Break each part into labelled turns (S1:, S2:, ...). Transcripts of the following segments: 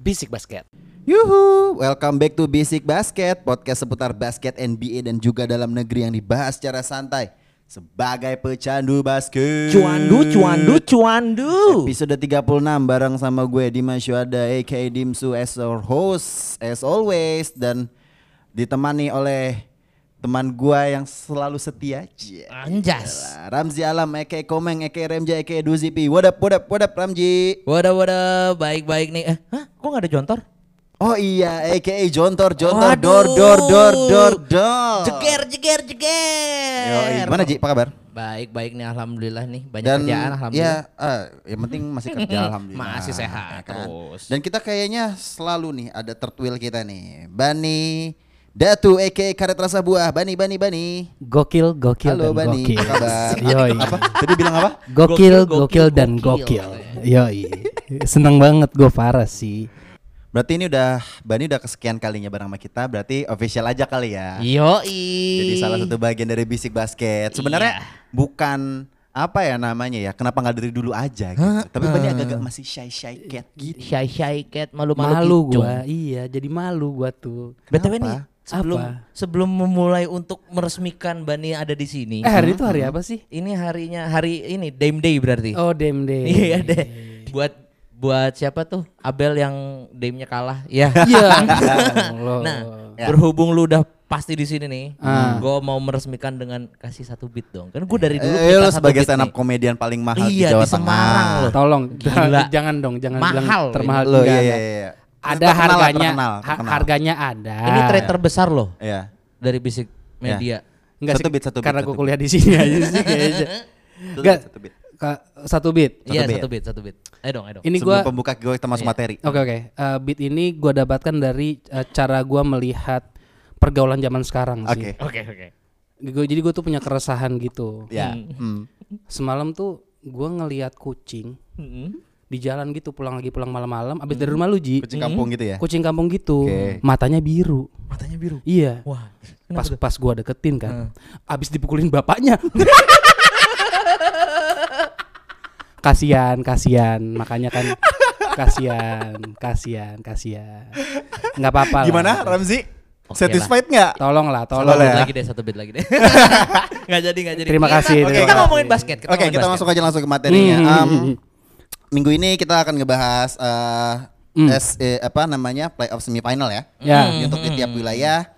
S1: Bisik Basket.
S2: Yuhu, welcome back to Basic Basket, podcast seputar basket NBA dan juga dalam negeri yang dibahas secara santai sebagai pecandu basket.
S1: Cuandu, cuandu, cuandu.
S2: Episode 36 bareng sama gue Dimas Syuada aka Dimsu as our host as always dan ditemani oleh teman gue yang selalu setia. Cie.
S1: Anjas.
S2: Ramzi Alam aka Komeng aka Remja aka Duzipi. What up, what up, what up Ramji?
S1: Wadah, wadah, baik-baik nih. Eh, hah? Kok nggak ada jontor?
S2: Oh iya, aka Jontor, Jontor, dor, dor, dor, dor, dor.
S1: Oh. Jeger, jeger, jeger.
S2: Yoi, gimana Ji, apa kabar?
S1: Baik-baik nih alhamdulillah nih. Banyak
S2: Dan
S1: kerjaan
S2: ya,
S1: alhamdulillah.
S2: eh, yang penting masih kerja alhamdulillah. Iya kan?
S1: Masih sehat terus.
S2: Dan kita kayaknya selalu nih ada tertwil kita nih. Bani Datu aka Karet Rasa Buah. Bani, Bani, Bani.
S3: Gokil, gokil
S2: Halo
S3: dan
S2: Bani,
S3: gokil.
S2: apa kabar?
S3: Yoi.
S2: Apa? Tadi bilang apa?
S3: Gokil,
S1: Gokil,
S3: gokil,
S1: gokil,
S3: dan
S1: gokil.
S3: gokil. Iya. Yoi. Seneng banget gue parah sih.
S2: Berarti ini udah Bani udah kesekian kalinya bareng sama kita, berarti official aja kali ya.
S1: Iya. Yoi.
S2: Jadi salah satu bagian dari bisik basket. Sebenarnya
S1: Iya.
S2: bukan apa ya namanya ya, kenapa nggak dari dulu aja gitu. Tapi Bani agak-agak masih shy-shy
S1: Iya,
S2: cat gitu.
S1: Syai-syai cat malu-malu gitu.
S3: Malu
S1: kicung.
S3: gue, iya jadi malu gue tuh.
S1: BTW
S2: Kenapa?
S1: nih, sebelum
S3: Apa?
S1: sebelum memulai untuk meresmikan Bani ada di sini.
S3: Eh hari itu hari apa sih?
S1: Ini harinya hari ini Dame Day berarti.
S3: Oh damn day.
S1: Iya deh. Buat buat siapa tuh? Abel yang Dame-nya kalah. Ya.
S3: Iya.
S1: nah,
S3: Nah.
S2: Ya.
S1: berhubung lu udah pasti di sini nih,
S3: Ah.
S1: gue mau meresmikan dengan kasih satu beat dong. Kan gue dari dulu
S2: Eh,
S1: minta
S2: lo
S1: satu
S2: sebagai
S1: beat
S2: stand up
S1: nih.
S2: komedian paling mahal
S1: Iya,
S2: di Jawa
S1: di Semarang
S2: Tengah.
S1: loh.
S3: Tolong,
S1: Gila.
S3: jangan dong, jangan
S1: Mahal
S3: bilang
S1: ini.
S3: termahal.
S2: Lo iya
S3: Enggak,
S2: iya
S3: enggak.
S2: iya.
S3: Ada
S2: Terkenal lah,
S3: harganya,
S2: terkenal,
S3: ha-
S2: terkenal.
S3: harganya ada.
S2: Ah.
S1: Ini trend terbesar loh
S2: Iya.
S1: dari bisik media.
S3: Enggak
S2: Satu
S3: sih,
S2: beat, satu beat,
S3: Karena
S2: satu
S3: gue
S2: beat.
S3: kuliah di sini aja sih kayaknya.
S2: Satu
S3: Enggak,
S2: beat, satu beat.
S3: ka- satu beat.
S1: Iya,
S2: beat. Iya.
S1: satu beat, satu beat. Ayo dong, ayo dong.
S3: Ini
S2: Sebelum
S3: gue
S2: pembuka gue kita masuk materi.
S3: Oke oke. Eh, beat ini gue dapatkan dari eh, cara gue melihat pergaulan zaman sekarang
S2: Oke.
S3: sih.
S1: Oke, oke.
S3: Gua- jadi gue tuh punya keresahan gitu.
S2: Ya. Hmm.
S3: Semalam tuh gue ngelihat kucing
S1: Mm-mm.
S3: di jalan gitu pulang lagi pulang malam-malam. Abis dari rumah lu ji,
S2: Kucing kampung gitu ya.
S3: kucing kampung gitu,
S2: Oke.
S3: matanya biru.
S1: Matanya biru.
S3: Iya.
S1: Wah,
S3: Pas pas gue deketin
S2: Hmm.
S3: kan, abis dipukulin bapaknya. kasian kasian makanya kan kasian kasian kasian nggak apa-apa lah.
S2: Gimana Ramzi?
S1: Oke
S2: Satisfied nggak?
S3: Tolonglah,
S1: Satu
S3: tolong.
S2: Boleh
S1: beat
S2: ya?
S1: lagi deh, satu beat lagi deh. Gak jadi, gak jadi.
S3: Terima
S1: Oke,
S3: kasih,
S2: terima
S1: kita
S2: kasih.
S1: ngomongin basket.
S2: Oke, kita masuk aja langsung ke materinya. Um, minggu ini kita akan ngebahas eh, S- eh, apa namanya playoff semifinal ya.
S3: Ya.
S2: Jadi Untuk di tiap wilayah.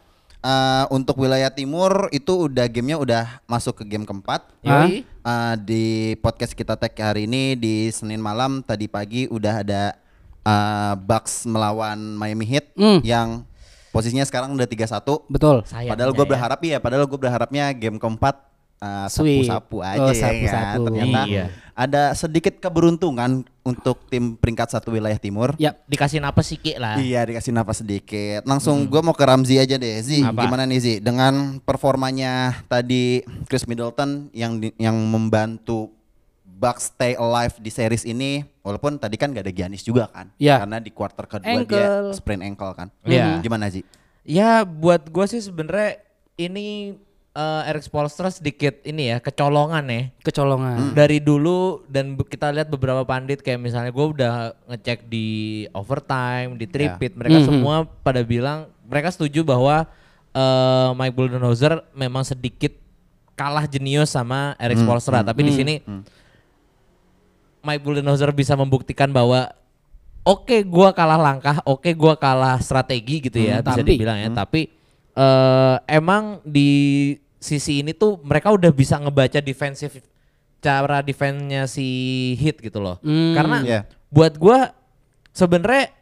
S2: Eh, untuk wilayah timur itu udah gamenya udah masuk ke game keempat.
S3: Hah?
S1: Yoi.
S2: Eh, di podcast kita tag hari ini di Senin malam tadi pagi udah ada eh, Bucks melawan Miami Heat
S3: Hmm.
S2: yang posisinya sekarang udah 3-1.
S3: Betul.
S1: Sayangnya
S2: padahal gue
S1: ya.
S2: berharap ya, padahal gue berharapnya game keempat eh,
S3: Sweet.
S2: sapu-sapu
S3: Oh,
S2: aja ya kan.
S3: sapu-sapu.
S2: Ternyata
S1: Iya.
S2: ada sedikit keberuntungan untuk tim peringkat satu wilayah timur.
S3: Ya,
S1: Dikasih apa sih, Ki lah.
S2: Iya dikasih napas sedikit. Langsung gua mau ke Ramzi aja deh. Zi,
S1: Apa?
S2: gimana nih Zi dengan performanya tadi Chris Middleton yang di- yang membantu Bucks stay alive di series ini walaupun tadi kan gak ada Giannis juga kan.
S3: Iya.
S2: Karena di quarter kedua
S3: Ankle.
S2: dia sprain ankle kan.
S1: Iya.
S2: Gimana Zi?
S1: Ya buat gue sih sebenarnya ini eh, Eric Spoelstra sedikit ini ya kecolongan ya.
S2: Hmm.
S3: kecolongan.
S1: Dari dulu dan be- kita lihat beberapa pandit kayak misalnya gue udah ngecek di overtime, di
S2: Ya.
S1: tripit, mereka semua pada bilang mereka setuju bahwa eh, Mike Budenholzer memang sedikit kalah jenius sama Eric Spoelstra, tapi di sini Mike Budenholzer bisa membuktikan bahwa oke gua kalah langkah, oke gua kalah strategi gitu ya bisa
S3: Hmm, tapi-
S1: dibilang ya, tapi eh, emang di sisi ini tuh mereka udah bisa ngebaca defensif cara defense-nya si Hit gitu loh.
S3: Hmm,
S1: Karena
S2: iya.
S1: buat gua sebenarnya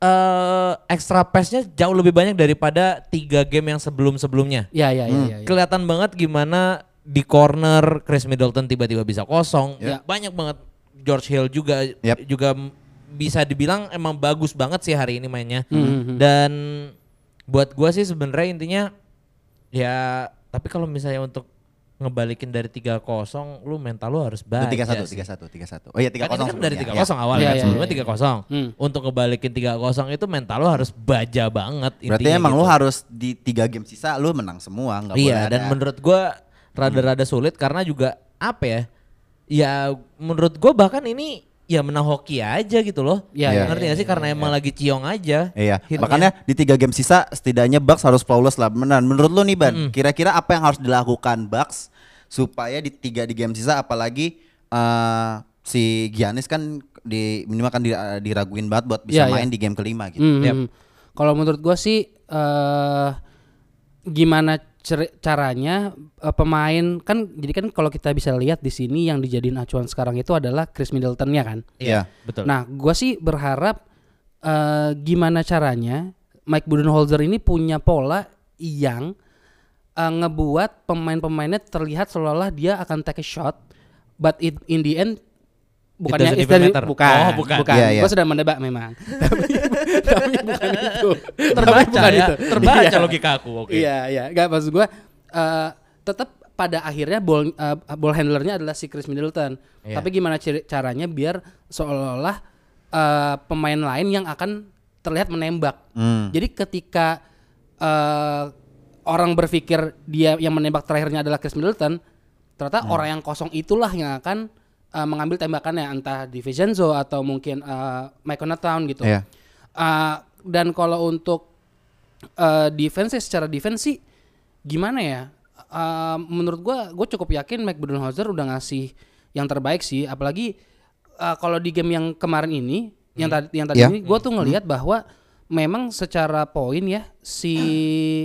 S1: eh extra pass-nya jauh lebih banyak daripada tiga game yang sebelum-sebelumnya
S3: Ya,
S2: Hmm.
S3: ya, ya, ya, ya.
S1: Iya. kelihatan banget gimana di corner Chris Middleton tiba-tiba bisa kosong.
S2: Iya.
S3: Ya.
S1: Banyak banget George Hill juga
S2: Yap.
S1: juga m- bisa dibilang emang bagus banget sih hari ini mainnya.
S2: Hmm.
S3: Mhm.
S1: Dan buat gua sih sebenarnya intinya ya tapi kalau misalnya untuk ngebalikin dari 3-0 lu mental lu harus baik.
S2: Tiga satu, tiga satu, tiga satu. Oh iya tiga
S1: Kan ini
S2: kosong.
S1: Nah, kan dari 3-0
S2: sebelumnya.
S1: awal
S3: Iya,
S1: ya, kan?
S3: iya,
S1: sebelumnya
S3: iya.
S1: 3-0.
S3: Hmm.
S1: Untuk ngebalikin 3-0 itu mental lu harus baja banget
S2: Ya. Berarti
S1: intinya
S2: emang
S1: gitu.
S2: lu harus di tiga game sisa lu menang semua, nggak boleh
S1: Iya
S2: ada. Hmm.
S1: dan menurut gua rada-rada sulit karena juga apa ya? Ya menurut gua bahkan ini ya menang hoki aja gitu loh.
S3: Iya,
S2: iya,
S1: Ngerti
S3: iya,
S1: gak sih karena emang lagi ciong aja.
S2: Iya,
S1: Hitnya.
S2: makanya di tiga game sisa setidaknya Bucks harus flawless lah. Benar. Menurut lu nih Ban, kira-kira apa yang harus dilakukan Bucks supaya di tiga di game sisa apalagi eh, si Giannis kan di minimal kan di- diraguin banget buat bisa
S3: Iya, iya.
S2: main di game kelima gitu.
S3: Hmm, hmm. Kalau menurut gua sih eh gimana cer- caranya eh, pemain kan jadi kan kalau kita bisa lihat di sini yang dijadiin acuan sekarang itu adalah Chris Middleton ya kan.
S2: Iya.
S1: Betul.
S3: Nah, gua sih berharap eh, gimana caranya Mike Budenholzer ini punya pola yang eh, ngebuat pemain-pemainnya terlihat seolah-olah dia akan take a shot, but it, in the end bukannya
S1: doesn't
S3: it doesn't-
S1: even matter.
S3: bukan,
S1: Oh, bukan.
S2: Iya, iya.
S3: Gua sudah mendebak memang. tapi, tapi bukan itu. Tapi
S1: terbaca
S3: bukan
S1: ya,
S3: itu.
S1: terbaca
S3: Iya.
S1: logika aku. Oke.
S3: Iya, iya. Enggak maksud gua eh, tetap pada akhirnya ball eh, ball handlernya adalah si Chris Middleton.
S1: Iya.
S3: Tapi gimana ciri- caranya biar seolah-olah eh, pemain lain yang akan terlihat menembak.
S2: Hmm.
S3: Jadi ketika eh, orang berpikir dia yang menembak terakhirnya adalah Chris Middleton, ternyata orang yang kosong itulah yang akan eh, mengambil tembakannya entah Divincenzo atau mungkin eh, Michael Town gitu.
S2: Iya.
S3: Eh, dan kalau untuk eh, defense ya, secara defense sih gimana ya? Eh, menurut gua gue cukup yakin Mike Budenholzer udah ngasih yang terbaik sih, apalagi eh, kalau di game yang kemarin ini, yang
S1: Hmm.
S3: tadi yang tadi
S1: Ya.
S2: Iya.
S3: ini, gue tuh ngelihat bahwa memang secara poin ya si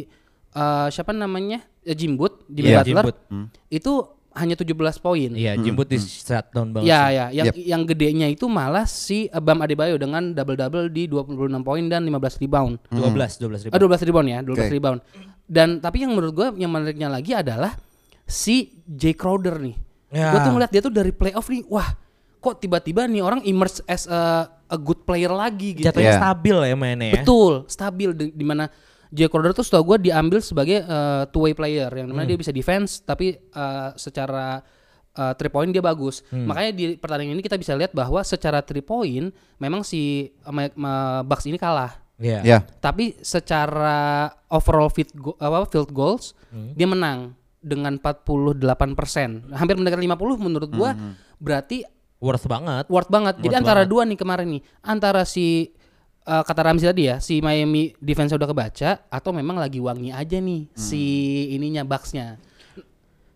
S3: eh, siapa namanya Eh, Jim Boot, Jimmy
S1: Iya, Jim
S3: Butler
S1: Boot.
S3: itu hanya 17 poin.
S1: Iya,
S2: Hmm,
S1: jemput di shutdown banget.
S3: Ya
S1: sih.
S3: ya, yang yang gedenya itu malah si Bam Adebayo dengan double double di 26 poin dan 15 rebound.
S2: Hmm.
S1: 12 12 ribu.
S3: Ah, 12 rebound ya, 12
S2: Oke.
S3: rebound. Dan tapi yang menurut gue yang menariknya lagi adalah si Jay Crowder nih.
S1: Ya.
S3: Gue tuh ngeliat dia tuh dari playoff nih, wah kok tiba-tiba nih orang emerge as a, a good player lagi gitu.
S1: Jatuhnya
S2: Iya.
S1: stabil ya mainnya ya.
S3: Betul, stabil di, di mana Jay Crowder tuh setahu gue diambil sebagai two way player yang dimana dia bisa defense tapi eh, secara eh, three point dia bagus. Makanya di pertandingan ini kita bisa lihat bahwa secara three point memang si eh, Mike- eh, Bucks ini kalah
S1: Iya.
S2: Iya.
S3: tapi secara overall field, go- apa, field goals dia menang dengan 48%. Hampir mendekati 50 menurut gua berarti
S1: Worth banget.
S3: worth banget. Jadi antara dua nih kemarin nih, antara si eh, kata Ramzi tadi ya, si Miami defense udah kebaca atau memang lagi wangi aja
S2: Hmm.
S3: nih si ininya Bucks-nya.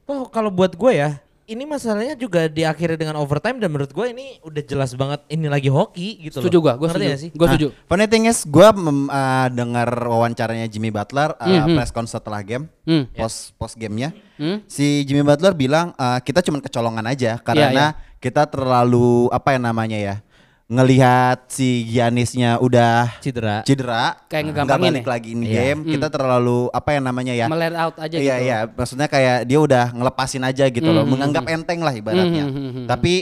S1: Oh, kalau buat gue ya, ini masalahnya juga diakhiri dengan overtime dan menurut gue ini udah jelas banget ini lagi hoki gitu
S3: Setuju
S1: loh.
S3: gua, gua
S1: Ngerti
S3: setuju.
S1: gak sih?
S3: Gua setuju.
S2: Nah, funny thing is gue dengar wawancaranya Jimmy Butler uh,
S1: Mm-hmm.
S2: press con setelah game,
S3: Hmm.
S2: post post gamenya.
S3: Hmm.
S2: Si Jimmy Butler bilang uh, kita cuman kecolongan aja
S3: iya.
S2: karena kita terlalu apa yang namanya ya ngelihat si Giannisnya udah
S1: Cedera.
S2: cedera,
S3: Kayak
S2: nggak
S3: ngegampangin
S2: balik
S3: ya?
S2: lagi in game, kita terlalu apa yang namanya ya?
S3: Melet out aja
S2: Iya
S3: gitu.
S2: iya, maksudnya kayak dia udah ngelepasin aja gitu loh, menganggap enteng lah ibaratnya.
S3: Hmm, hmm, hmm,
S2: Tapi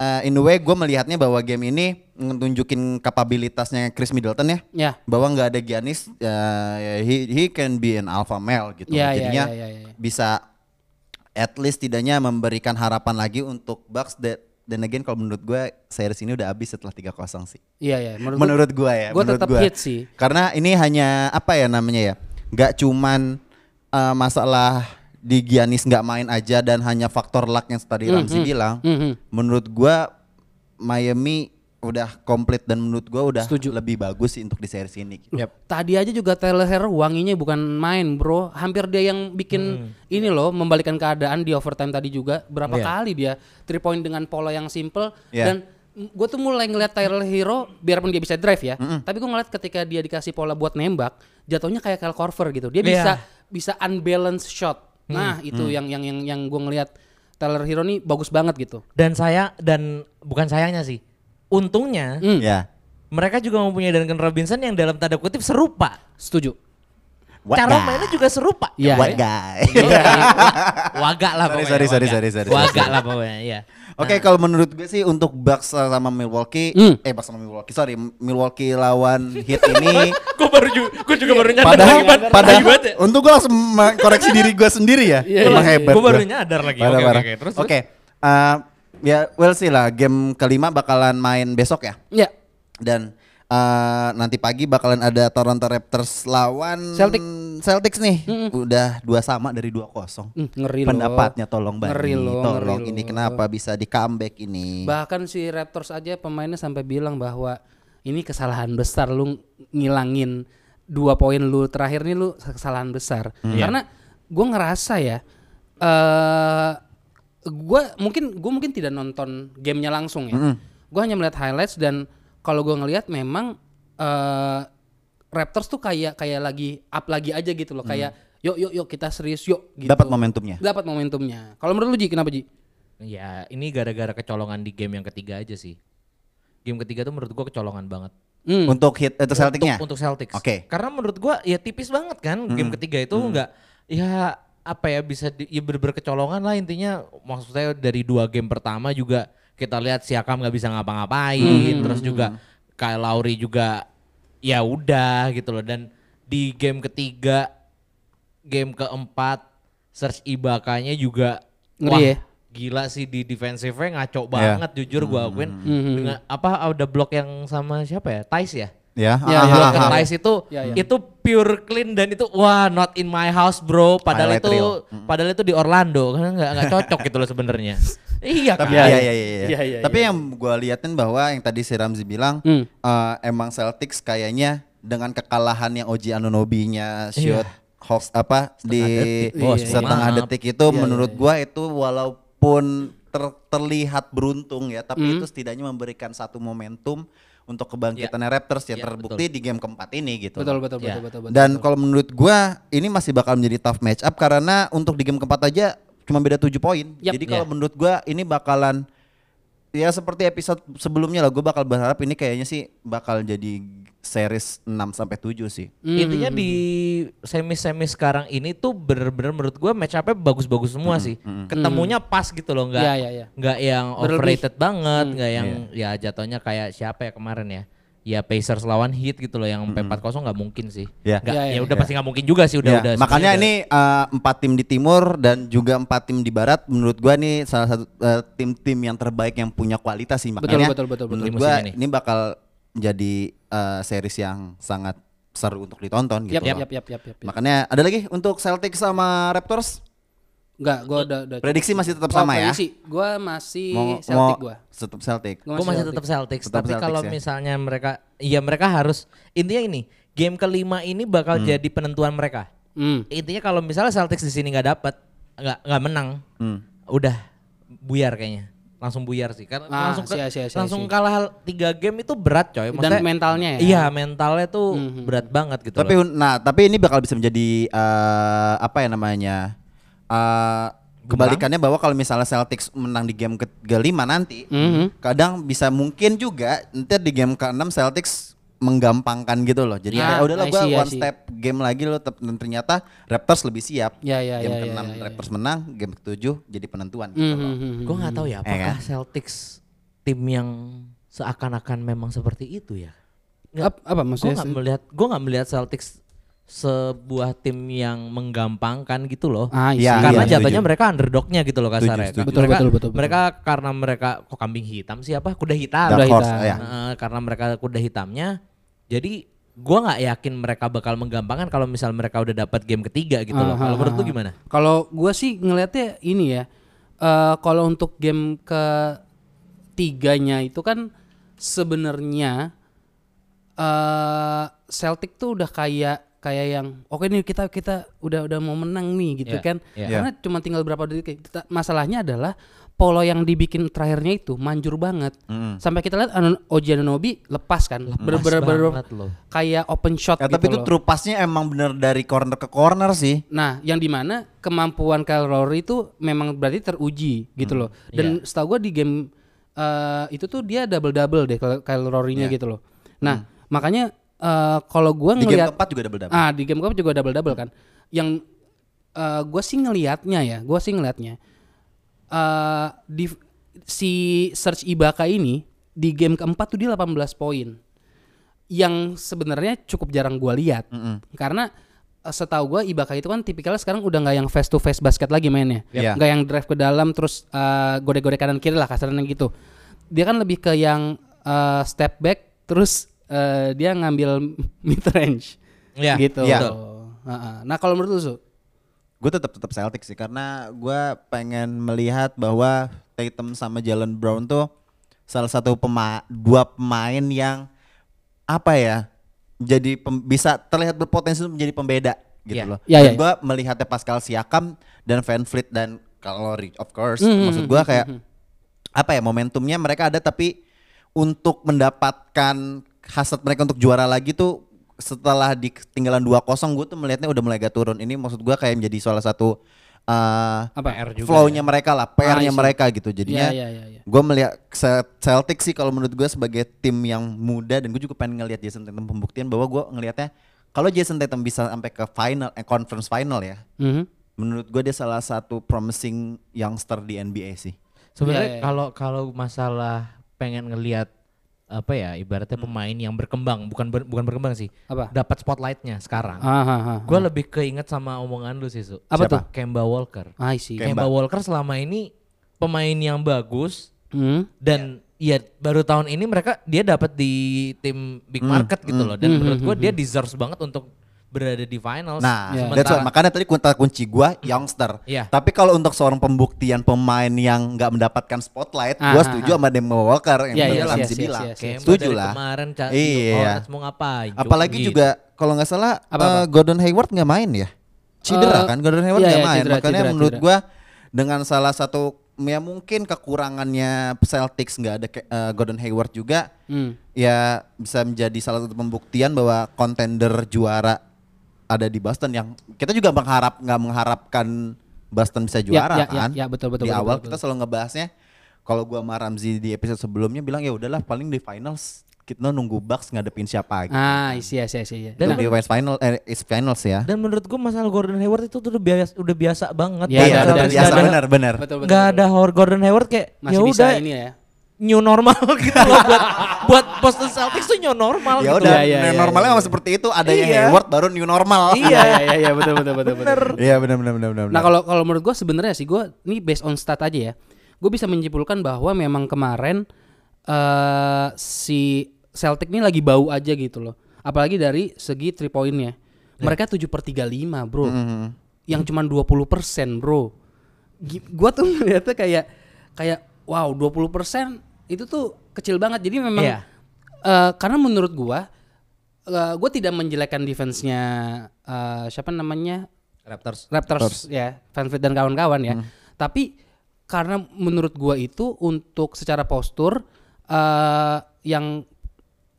S2: uh, in a way gue melihatnya bahwa game ini nunjukin kapabilitasnya Chris Middleton ya,
S3: Ya.
S2: bahwa nggak ada Giannis, uh, he, he can be an alpha male gitu.
S3: Iya, iya,
S2: Jadinya
S3: iya, iya, iya.
S2: bisa at least tidaknya memberikan harapan lagi untuk Bucks. That, dan again kalau menurut gue series ini udah habis setelah 3-0 sih.
S3: Iya ya, menurut, gua-
S2: Menurut gue ya.
S3: gua
S2: menurut
S3: tetap
S2: gua.
S3: hit sih.
S2: Karena ini hanya apa ya namanya ya, nggak cuman eh, masalah di Giannis nggak main aja dan hanya faktor luck yang tadi Ramzi bilang.
S3: Mhm.
S2: Menurut gua Miami udah komplit dan menurut gua udah
S3: Setuju.
S2: lebih bagus sih untuk di series ini. gitu.
S3: Tadi aja juga Tyler Hero wanginya bukan main bro Hampir dia yang bikin ini loh Membalikan keadaan di overtime tadi juga Berapa
S1: Hmm. Iya.
S3: kali dia three point dengan pola yang simple
S2: Iya.
S3: Dan gue tuh mulai ngeliat Tyler Hero Biarpun dia bisa drive ya Tapi gue ngeliat ketika dia dikasih pola buat nembak Jatuhnya kayak Kyle Korver gitu
S1: Iya.
S3: Dia
S1: Hmm.
S3: bisa bisa unbalanced shot Nah itu yang yang yang, yang gue ngeliat Tyler Hero nih bagus banget gitu
S1: Dan saya dan bukan sayangnya sih. Untungnya
S3: Hmm.
S2: Ya.
S1: mereka juga mempunyai Duncan Robinson yang dalam tanda kutip serupa.
S3: Hmm, Setuju
S2: What
S1: Cara
S2: guy?
S1: mainnya juga serupa. Iya.
S3: Iya.
S2: What guy? Iya.
S1: Wagak lah
S2: Ya.
S1: pokoknya.
S2: Sorry, sorry, sorry,
S1: wagak.
S2: sorry, sorry,
S1: Wagak
S2: sorry.
S1: lah pokoknya, iya.
S2: Oke, kalau menurut gue sih untuk Bucks sama Milwaukee,
S3: Hmm.
S2: eh Bucks sama Milwaukee, sorry, Milwaukee lawan Heat ini
S1: Gue baru juga, gue juga baru nyadar
S2: padahal
S1: lagi, Ban.
S2: padahal
S1: Tai banget ya.
S2: untuk gue langsung koreksi diri gue sendiri ya emang hebat
S1: Gue Iya, baru
S2: gua.
S1: nyadar lagi.
S2: Parah,
S1: Oke,
S2: parah.
S1: oke, oke. Terus,
S2: Oke, eh, ya well sih lah game kelima bakalan main besok ya
S3: Ya
S2: dan eh, nanti pagi bakalan ada Toronto Raptors lawan
S3: Celtic.
S2: Celtics nih. Udah dua sama dari dua kosong.
S3: Hmm, ngeri loh.
S2: Pendapatnya tolong Bani,
S3: Ngeri loh, ngeri
S2: tolong ini
S3: loh.
S2: kenapa bisa di comeback ini?
S3: Bahkan si Raptors aja pemainnya sampai bilang bahwa ini kesalahan besar lu ngilangin dua poin lu terakhir nih lu kesalahan besar.
S2: Hmm.
S3: Karena gue ngerasa ya eh gua mungkin gue mungkin tidak nonton gamenya langsung ya.
S2: Hmm.
S3: Gue hanya melihat highlights dan kalau gue ngelihat memang eh Raptors tuh kayak kayak lagi up lagi aja gitu loh kayak yuk yuk yuk kita serius yuk gitu.
S2: Hmm. Dapat momentumnya.
S3: Dapat momentumnya. Kalau menurut lu Ji kenapa Ji?
S1: Ya ini gara-gara kecolongan di game yang ketiga aja sih. Game ketiga tuh menurut gua kecolongan banget.
S3: Hmm.
S2: Untuk hit eh, untuk Celticnya.
S1: Untuk Celtics.
S2: Oke.
S1: Karena menurut gua ya tipis banget kan
S3: Hmm.
S1: game ketiga itu nggak ya apa ya bisa di, ya bener-bener kecolongan lah intinya maksud saya dari dua game pertama juga kita lihat Siakam nggak bisa
S3: Hmm.
S1: ngapa-ngapain terus juga Kyle Lowry juga ya udah gitu loh dan di game ketiga game keempat Serge Ibakanya juga
S3: Ngeri
S1: wah,
S3: ya. Iya.
S1: gila sih di defensive-nya ngaco banget jujur gua akuin
S3: Hmm.
S1: dengan apa ada blok yang sama siapa ya Thais ya
S2: Ya, ah,
S3: Ya, ya,
S2: ah,
S1: Block and
S2: ah.
S1: ties itu
S3: Ya, ya.
S1: itu pure clean dan itu wah not in my house bro padahal
S2: Highlight
S1: itu
S2: reel.
S1: padahal itu di Orlando karena nggak nggak cocok gitu loh sebenarnya iya kan
S2: Tapi ya, ya, ya,
S3: Iya, iya,
S2: Tapi yang gue liatin bahwa yang tadi si Ramzi bilang
S3: Hmm.
S2: eh, emang Celtics kayaknya dengan kekalahan yang Oji Anunobi-nya shoot Hawks apa di
S1: Iya. detik, bos. Iya,
S2: setengah
S1: maaf.
S2: detik itu menurut gua itu walaupun ter- terlihat beruntung ya, tapi itu setidaknya memberikan satu momentum untuk kebangkitannya Raptors ya,
S1: Iya,
S2: terbukti di game keempat ini gitu.
S3: Betul betul betul,
S1: Ya.
S3: betul betul betul.
S2: Dan kalau menurut gua ini masih bakal menjadi tough match up karena untuk di game keempat aja cuma beda 7 poin.
S3: Yap.
S2: Jadi kalau
S1: Ya.
S2: menurut gua ini bakalan ya seperti episode sebelumnya lah gua bakal berharap ini kayaknya sih bakal jadi series 6 sampai 7 sih.
S3: Hmm,
S1: intinya di semi semi sekarang ini tuh bener-bener menurut gue match up-nya bagus-bagus semua sih ketemunya pas gitu loh nggak
S3: Iya, iya, iya.
S1: nggak yang
S3: Berlebih.
S1: overrated banget nggak yang
S2: Iya.
S1: ya jatuhnya kayak siapa ya kemarin ya ya Pacers lawan Heat gitu loh yang empat 4-0 nggak mungkin sih
S2: Ya.
S1: Nggak-
S3: Ya, ya,
S1: ya udah
S2: ya.
S1: pasti nggak mungkin juga sih udah
S2: Ya,
S1: udah
S2: makanya
S1: sebenarnya
S2: ini eh, empat tim di timur dan juga empat tim di barat menurut gua nih salah satu eh, tim-tim yang terbaik yang punya kualitas sih
S3: Betul,
S2: makanya
S3: betul, betul, betul.
S2: menurut
S1: Di
S2: gua
S1: musim ini.
S2: ini. bakal jadi eh, series yang sangat seru untuk ditonton gitu.
S3: Yap,
S2: loh.
S3: yap, yap, yap, yap.
S2: Makanya ada lagi untuk Celtics sama Raptors
S3: Enggak, gua udah udah.
S2: prediksi masih tetap
S3: Kalau
S2: sama ya.
S3: prediksi, Gua masih
S2: Mau
S3: Celtic
S2: mau-
S3: gua.
S2: tetap Celtic.
S3: Gua
S1: gue masih tetap Celtics,
S2: Tetap
S1: tapi
S2: Celtics
S1: kalau
S2: ya.
S1: misalnya mereka ya mereka harus intinya ini game kelima ini bakal jadi penentuan mereka
S3: Hmm.
S2: Ya,
S1: intinya kalau misalnya Celtics di sini nggak dapat nggak nggak menang
S2: Hmm.
S1: udah buyar kayaknya langsung buyar sih karena
S3: Ah,
S1: langsung ke-
S3: iya, iya, iya,
S1: langsung
S3: iya.
S1: kalah tiga game itu berat coy Maksudnya-
S3: mentalnya ya.
S1: iya mentalnya tuh berat banget gitu
S2: Tapi
S1: loh.
S2: un- nah, tapi ini bakal bisa menjadi eh, apa ya namanya? eh, kebalikannya bahwa kalau misalnya Celtics menang di game ke- kelima nanti,
S3: Hmm.
S2: kadang bisa mungkin juga nanti di game keenam Celtics menggampangkan gitu loh. Jadi
S3: Ah,
S2: ya udahlah
S3: I
S2: gua
S3: see, I
S2: one
S3: see.
S2: step game lagi loh tep- dan ternyata Raptors lebih siap.
S3: Ya, ya,
S2: game
S3: ya, ya,
S2: keenam
S3: ya, ya.
S2: Raptors menang, game ketujuh jadi penentuan gitu
S3: Hmm,
S2: loh.
S3: hmm, hmm.
S1: gue nggak tahu ya apakah Celtics tim yang seakan-akan memang seperti itu ya Nggak-
S3: Ap- apa
S1: gue
S3: maksudnya?
S1: nggak melihat gue nggak melihat Celtics sebuah tim yang menggampangkan gitu loh
S3: Ah,
S2: Ya,
S3: iya.
S1: karena
S2: iya,
S1: jatuhnya
S2: setuju.
S1: mereka underdognya gitu loh kasarnya
S2: Setuju, setuju.
S3: Betul,
S1: mereka,
S3: betul, betul, betul.
S1: mereka karena mereka kok kambing hitam siapa kuda hitam
S2: Dark
S3: Udah
S2: horse,
S3: hitam.
S2: ya.
S1: Heeh, karena mereka kuda hitamnya jadi gua nggak yakin mereka bakal menggampangkan kalau misal mereka udah dapat game ketiga gitu loh kalau menurut lu gimana
S3: Kalau gua sih ngelihatnya ini ya. eh, kalau untuk game ke tiganya itu kan sebenarnya eh Celtic tuh udah kayak kayak yang oke nih kita kita udah udah mau menang nih
S2: Ya,
S3: gitu
S1: Iya,
S3: kan.
S1: iya.
S3: Karena cuma tinggal berapa detik. Kita- Masalahnya adalah polo yang dibikin terakhirnya itu manjur banget. Sampai kita lihat Anon- Oji Anunobi lepas kan. Bener- bener- bener-
S1: banget loh.
S3: kayak open shot
S2: Ya,
S3: gitu
S2: tapi itu
S3: loh.
S2: true pass-nya emang bener dari corner ke corner sih.
S3: Nah, yang dimana kemampuan Kyle Lowry itu memang berarti teruji gitu
S2: Hmm,
S3: loh.
S2: iya.
S3: Dan setahu gue di game eh, itu tuh dia double double deh Kyle- Kyle Lowry-nya gitu loh. Nah, makanya eh, kalau gue
S2: Iya. Hmm. Di game
S3: ngelihat
S2: keempat juga double double.
S3: ah di game gue juga double double kan. Yang gue sih ngelihatnya ya, gue sih ngelihatnya eh, di si Serge Ibaka ini di game keempat tuh dia 18 poin yang sebenarnya cukup jarang gua lihat karena eh, setahu gua Ibaka itu kan tipikalnya sekarang udah nggak yang face to face basket lagi mainnya
S2: Iya.
S3: nggak yang drive ke dalam terus eh, godek-godek kanan kiri lah kasarnya gitu dia kan lebih ke yang eh, step back terus eh, dia ngambil mid range
S1: Iya,
S3: gitu.
S2: iya.
S3: Betul. Heeh. Nah, kalau menurut lu Su,
S2: Gue tetap tetap Celtic sih karena gue pengen melihat bahwa Tatum sama Jalen Brown tuh salah satu pema dua pemain yang apa ya jadi pem- bisa terlihat berpotensi untuk menjadi pembeda gitu
S1: Iya.
S2: loh.
S3: Iya, iya,
S2: gue melihatnya Pascal Siakam dan Van Vliet dan kalau Rich of course
S3: Mm-hmm.
S2: maksud
S3: Hmm,
S2: gue kayak apa ya momentumnya mereka ada tapi untuk mendapatkan hasrat mereka untuk juara lagi tuh setelah ditinggalan 2-0 gue tuh melihatnya udah mulai agak turun ini maksud gue kayak menjadi salah satu uh,
S3: apa?
S1: PR juga.
S2: flow-nya mereka lah PR-nya
S3: Ah, iya.
S2: mereka gitu jadinya
S3: Iya, iya, iya, iya.
S2: gue melihat Se- Celtic sih kalau menurut gue sebagai tim yang muda dan gue juga pengen ngelihat Jason Tatum pembuktian bahwa gue ngelihatnya kalau Jason Tatum bisa sampai ke final eh, conference final ya
S3: Mhm.
S2: menurut gue dia salah satu promising youngster di NBA sih
S1: Sebenarnya
S3: Iya, iya.
S1: kalau kalau masalah pengen ngelihat apa ya ibaratnya pemain yang berkembang bukan ber- bukan berkembang sih
S3: Apa?
S1: dapat spotlightnya sekarang.
S3: Ah, ah, ah.
S2: Hmm.
S1: Gue lebih keinget sama omongan lu sih su.
S3: Apa Siapa? tuh?
S1: Kemba Walker.
S3: Ah, I see.
S2: Kayak-
S1: Kemba
S2: Kemba.
S1: Walker selama ini pemain yang bagus
S3: Mhm.
S1: dan
S2: Iya.
S1: ya baru tahun ini mereka dia dapat di tim big
S2: Hmm.
S1: market gitu loh dan menurut gue dia deserves banget untuk berada di finals.
S2: nah
S3: Iya.
S2: that's why.
S1: Sementara-
S2: makanya tadi kunta kunci gue youngster
S1: Iya.
S2: tapi kalau untuk seorang pembuktian pemain yang nggak mendapatkan spotlight
S3: Ah,
S2: gue
S3: ah,
S2: setuju
S3: ah.
S2: sama Demo Walker yang
S3: Iya,
S2: tadi
S1: iya,
S2: Ramzi
S3: yes, yes,
S2: bilang
S3: yes,
S1: Kemba
S2: setuju
S1: dari
S2: lah
S1: kemarin ca-
S2: Iya.
S1: Hornets mau ngapain? Ju?
S2: apalagi
S1: Gitu.
S2: juga kalau nggak salah eh,
S3: Apa, apa?
S2: Gordon Hayward nggak main ya cedera
S3: Eh,
S2: kan Gordon Hayward
S3: iya,
S2: nggak
S3: iya,
S2: main
S3: cedera,
S2: makanya
S3: cedera,
S2: menurut
S3: cedera.
S2: gua dengan salah satu ya mungkin kekurangannya Celtics nggak ada ke- eh, Gordon Hayward juga
S3: Hmm.
S2: ya bisa menjadi salah satu pembuktian bahwa kontender juara ada di Boston yang kita juga mengharap nggak mengharapkan Boston bisa juara
S3: ya, ya,
S2: kan
S3: ya, betul, betul,
S2: di
S3: betul,
S2: awal
S3: betul,
S2: kita selalu ngebahasnya kalau gua sama Ramzi di episode sebelumnya bilang ya udahlah paling di finals kita nunggu Bucks ngadepin siapa gitu.
S3: Ah, I see, I see, Nah, I see.
S1: Dan-
S2: Dan di West final eh is finals ya.
S1: Dan menurut gue masalah Gordon Hayward itu tuh udah biasa udah biasa banget.
S3: Iya,
S1: Nggak
S3: udah
S1: ada-
S3: biasa,
S1: nggak ada-
S2: benar benar.
S3: Betul, betul,
S1: Nggak
S3: betul.
S1: ada Howard Gordon Hayward kayak ya
S3: Masih bisa
S1: udah
S3: ini ya.
S1: new normal gitu loh buat buat Boston Celtics tuh new normal
S2: Ya
S1: gitu.
S2: udah
S3: Iya, iya,
S2: nah,
S3: iya,
S2: normalnya
S3: iya.
S2: memang seperti itu adanya
S1: Iya.
S2: Hayward baru new normal.
S1: Iya.
S3: Iya, iya, iya, betul, betul, betul, betul.
S2: Iya benar benar benar benar.
S3: Nah kalau kalau menurut gue sebenarnya sih gue ini based on stat aja ya. Gue bisa menyimpulkan bahwa memang kemarin eh si Celtic ini lagi bau aja gitu loh. Apalagi dari segi three pointnya. Mereka 7 per 35 bro. Yang cuma 20% bro. Gi- Gua tuh ngeliatnya kayak kayak wow 20% itu tuh kecil banget. Jadi memang
S1: Iya.
S3: eh, karena menurut gua gue tidak menjelekkan defense-nya eh, siapa namanya
S1: Raptors.
S3: Raptors, ya, Van Vliet dan kawan-kawan ya. Tapi karena menurut gua itu untuk secara postur eh yang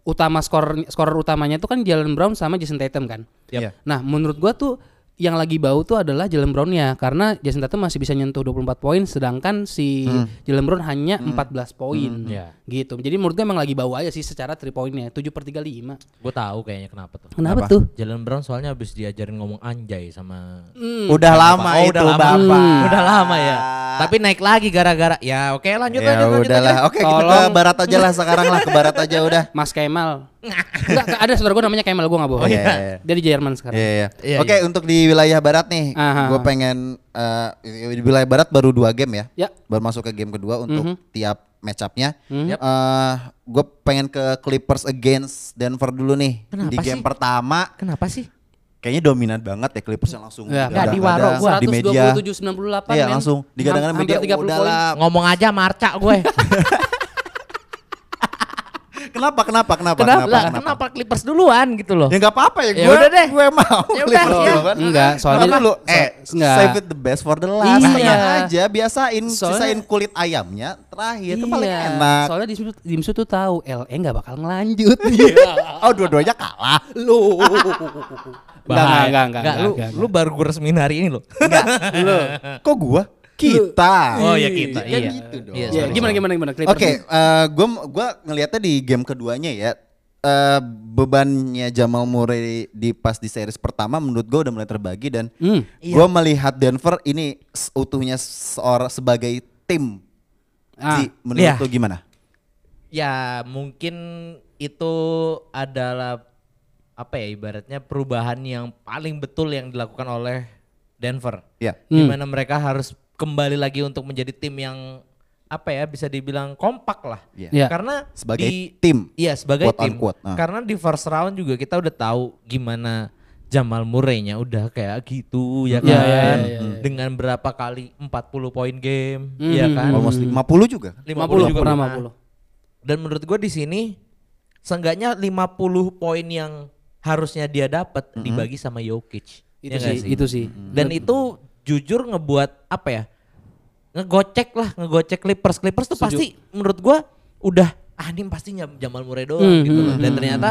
S3: utama skor skorer utamanya itu kan Jalen Brown sama Jason Tatum kan.
S2: Iya.
S3: Nah, menurut gua tuh yang lagi bau tuh adalah Jalen Brown-nya karena Jason Tatum masih bisa nyentuh 24 poin sedangkan si Jalen Brown hanya 14 poin.
S1: Iya.
S3: Gitu. Jadi menurut gua emang lagi bau aja sih secara 3 poinnya 7 per 35.
S1: Gue tahu kayaknya kenapa tuh.
S2: Apa?
S3: Kenapa tuh?
S1: Jalen Brown soalnya habis diajarin ngomong anjay sama
S2: Udah
S3: Hmm.
S2: lama
S1: Oh,
S2: itu
S1: udah lama.
S2: Bapak.
S1: Udah lama ya. Tapi naik lagi gara-gara ya oke lanjut
S2: ya
S1: lanjut lanjut.
S2: udahlah.
S1: lanjut.
S2: Oke, kita ke
S3: Tolong.
S2: barat aja lah sekarang lah ke barat aja udah.
S3: Mas Kemal. Enggak, ada saudara gua namanya Kemal, gua nggak bohong.
S2: Oh, iya.
S3: Dia di Jerman sekarang.
S2: Iya, iya.
S1: Iya,
S2: Oke, untuk di wilayah barat nih,
S3: Aha.
S2: gue pengen eh, di wilayah barat baru dua game ya.
S3: Ya.
S2: Baru masuk ke game kedua untuk tiap match up-nya.
S1: Yap.
S2: gue pengen ke Clippers against Denver dulu nih.
S1: Kenapa
S2: di game
S1: sih?
S2: pertama
S1: Kenapa sih?
S2: kayaknya dominan banget ya Clippers yang langsung
S1: Nggak,
S3: Ya,
S1: di
S2: digadang-gadang,
S1: waro gua.
S2: di media.
S3: 127-98
S2: Iya,
S3: men.
S2: langsung digadang-gadang
S3: Ham-
S2: media
S3: hampir 30
S2: udah
S3: poin.
S2: lah.
S1: Ngomong aja marca gue.
S2: Kenapa kenapa kenapa
S1: kenapa? Lah, Kenapa, Clippers duluan gitu loh?
S2: Ya enggak apa-apa ya,
S1: Ya
S2: gue
S1: udah deh.
S2: gue mau.
S1: Ya udah,
S2: Clippers
S1: ya.
S2: duluan.
S3: Enggak, soalnya
S2: Kenapa lu eh
S3: so- enggak.
S2: save it the best for the last.
S3: Iya.
S2: Tenang aja, biasain
S3: Soalnya-
S2: sisain kulit ayamnya terakhir itu paling
S3: Iya,
S2: enak.
S3: Soalnya Dimsu, Dimsu tuh tahu LE nggak bakal ngelanjut. Iya.
S1: Iya,
S2: oh, dua-duanya kalah.
S3: Lu. Enggak,
S1: Bahaya.
S3: enggak, enggak, enggak,
S1: lu,
S3: enggak,
S1: lu baru gue resmiin hari ini loh.
S2: Kok gua? Kita.
S1: Oh ya kita.
S2: Kan
S1: iya.
S2: gitu dong.
S1: Iya,
S3: Iya,
S1: sorry,
S3: gimana
S1: sorry.
S3: gimana gimana Clippers
S2: Oke,
S3: nih?
S2: eh, gua gua ngelihatnya di game keduanya ya. eh, bebannya Jamal Murray di pas di series pertama menurut gua udah mulai terbagi dan
S3: Hmm.
S1: Iya.
S2: gua melihat Denver ini seutuhnya seorang sebagai tim.
S3: Ah,
S2: Ji, menurut
S1: iya.
S2: lu gimana?
S1: Ya mungkin itu adalah apa ya ibaratnya perubahan yang paling betul yang dilakukan oleh Denver.
S2: Ya.
S1: Di
S3: Hmm.
S1: mana mereka harus kembali lagi untuk menjadi tim yang apa ya bisa dibilang kompak lah.
S2: Iya.
S3: Iya.
S1: Karena
S2: Sebagai
S1: di-
S2: tim.
S1: Iya, sebagai
S2: Quote
S1: tim.
S2: unquote, ah.
S1: Karena di first round juga kita udah tahu gimana Jamal Murray-nya udah kayak gitu ya kan.
S3: Iya, iya, iya, iya, iya.
S1: Dengan berapa kali 40 poin game,
S3: Hmm.
S1: ya kan.
S2: Almost 50 juga.
S1: 50 juga
S3: pernah
S1: pernah.
S3: 50.
S1: Dan menurut gue di sini seenggaknya 50 poin yang harusnya dia dapat dibagi sama Jokic.
S3: Mm-hmm. Itu
S1: Ya nggak
S3: sih, Iya. itu sih.
S1: Dan itu jujur ngebuat apa ya? Ngegocek lah, ngegocek Clippers. Clippers tuh pasti menurut gua udah ah ini pasti Jam- Jamal Murray doang
S3: Hmm,
S1: gitu loh.
S3: hmm,
S1: Dan
S3: hmm,
S1: ternyata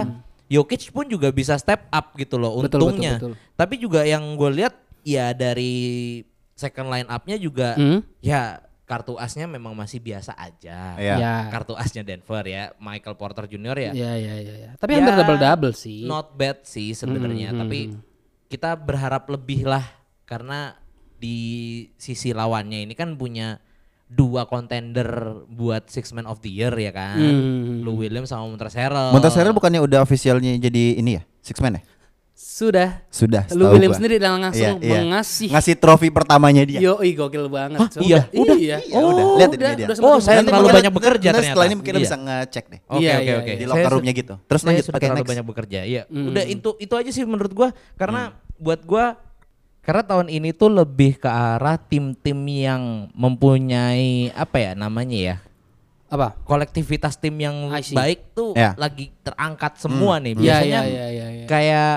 S1: Jokic pun juga bisa step up gitu loh
S3: Betul, betul,
S1: untungnya.
S3: betul.
S1: Tapi juga yang gue lihat ya dari second line up-nya juga
S3: Hmm?
S1: ya kartu asnya memang masih biasa aja.
S2: Iya.
S3: Ya.
S1: Kartu asnya Denver ya, Michael Porter Jr ya.
S3: Ya, ya, ya, ya. Tapi
S1: Ya,
S3: hampir double double sih.
S1: Not bad sih sebenarnya,
S3: Hmm,
S1: tapi
S3: hmm,
S1: kita berharap lebih lah karena di sisi lawannya ini kan punya dua kontender buat six man of the year ya kan.
S3: Hmm.
S1: Lou Williams sama Montrezl Harrell.
S2: Mm-hmm. Montrezl bukannya udah officialnya jadi ini ya? Six man ya?
S3: Sudah.
S2: Sudah.
S3: Lu
S2: setahu
S3: William
S2: gua.
S3: sendiri langsung
S2: Iya, iya.
S3: mengasih.
S2: ngasih trofi pertamanya dia.
S3: Yo, gokil banget.
S1: Hah,
S3: So,
S1: iya, udah,
S3: iya.
S2: iya, udah. Lihat ini
S3: udah,
S2: dia.
S3: udah sempet
S1: Oh, saya
S3: ngomong.
S1: terlalu
S2: mungkin-
S1: banyak bekerja
S2: nanti Setelah ini
S1: ternyata.
S2: mungkin
S1: Iya.
S2: bisa ngecek deh.
S1: Oke
S3: Iya,
S1: oke oke.
S3: iya, iya.
S2: Di
S1: Saya
S2: locker
S1: su-
S2: roomnya gitu. Terus
S1: saya
S2: lanjut
S1: sudah
S2: pakai
S1: terlalu
S2: next. Mm-hmm.
S1: banyak bekerja. Iya. Udah itu itu aja sih menurut gua karena
S2: Mm.
S1: buat gua karena tahun ini tuh lebih ke arah tim-tim yang mempunyai apa ya namanya ya
S3: Apa?
S1: kolektivitas tim yang
S3: I see.
S1: baik tuh
S2: Ya.
S1: lagi terangkat semua nih
S3: Iya,
S1: biasanya
S3: iya, iya, iya. iya.
S1: kayak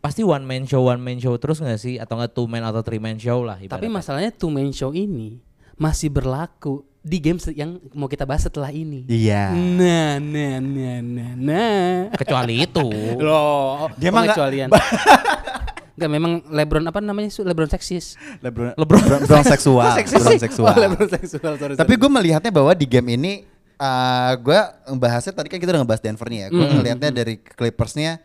S1: pasti one man show one man show terus nggak sih atau nggak two man atau three man show lah
S3: Tapi
S1: ibaratnya.
S3: masalahnya two man show ini masih berlaku di game se- yang mau kita bahas setelah ini.
S2: Iya.
S3: Nah, nah, nah, nah, nah.
S1: kecuali itu
S3: Loh,
S2: Dia mah nggak-
S3: pengecualian. Enggak memang LeBron apa namanya? Su? LeBron seksis.
S2: Lebron,
S1: Lebron-
S2: Lebron seksual. Lebron seksual.
S3: Oh, LeBron seksual, sorry.
S2: Tapi gue melihatnya bahwa di game ini eh gue ngebahasnya tadi kan kita udah ngebahas Denver nih ya. Gue melihatnya dari Clippersnya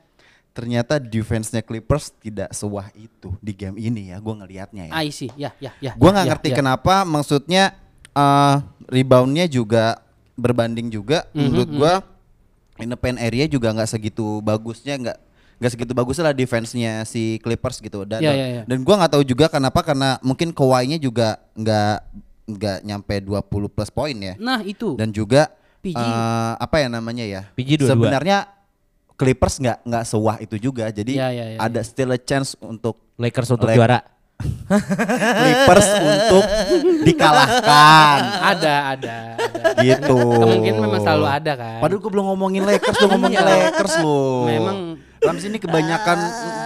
S2: ternyata defense-nya Clippers tidak sewah itu di game ini ya. Gue ngelihatnya ya.
S3: sorry. I see. Ya, ya, ya.
S2: Gue
S3: ya,
S2: nggak
S3: ya,
S2: ngerti
S3: ya.
S2: kenapa. Maksudnya eh reboundnya juga berbanding juga.
S3: Mhm,
S2: Menurut gue in the paint area juga nggak segitu bagusnya nggak nggak segitu bagusnya lah defense-nya si Clippers gitu. Dan
S3: Ya, ya, ya.
S2: dan gue nggak tahu juga kenapa karena mungkin Kawhi-nya juga nggak nggak nyampe 20 plus poin ya.
S3: Nah, itu.
S2: Dan juga
S3: PG.
S2: eh, apa ya namanya ya?
S1: PG dua-dua.
S2: Sebenarnya Clippers nggak nggak sewah itu juga. Jadi
S3: Ya, ya, ya,
S2: ada still a chance untuk
S1: Lakers untuk
S2: Lak-
S1: juara
S2: Clippers untuk dikalahkan
S3: ada, ada, ada.
S2: gitu.
S3: Kemungkinan memang selalu ada kan.
S2: Padahal gue belum ngomongin Lakers, lu ngomongin
S3: Iya.
S2: Lakers lu.
S3: Memang.
S2: Rams ini kebanyakan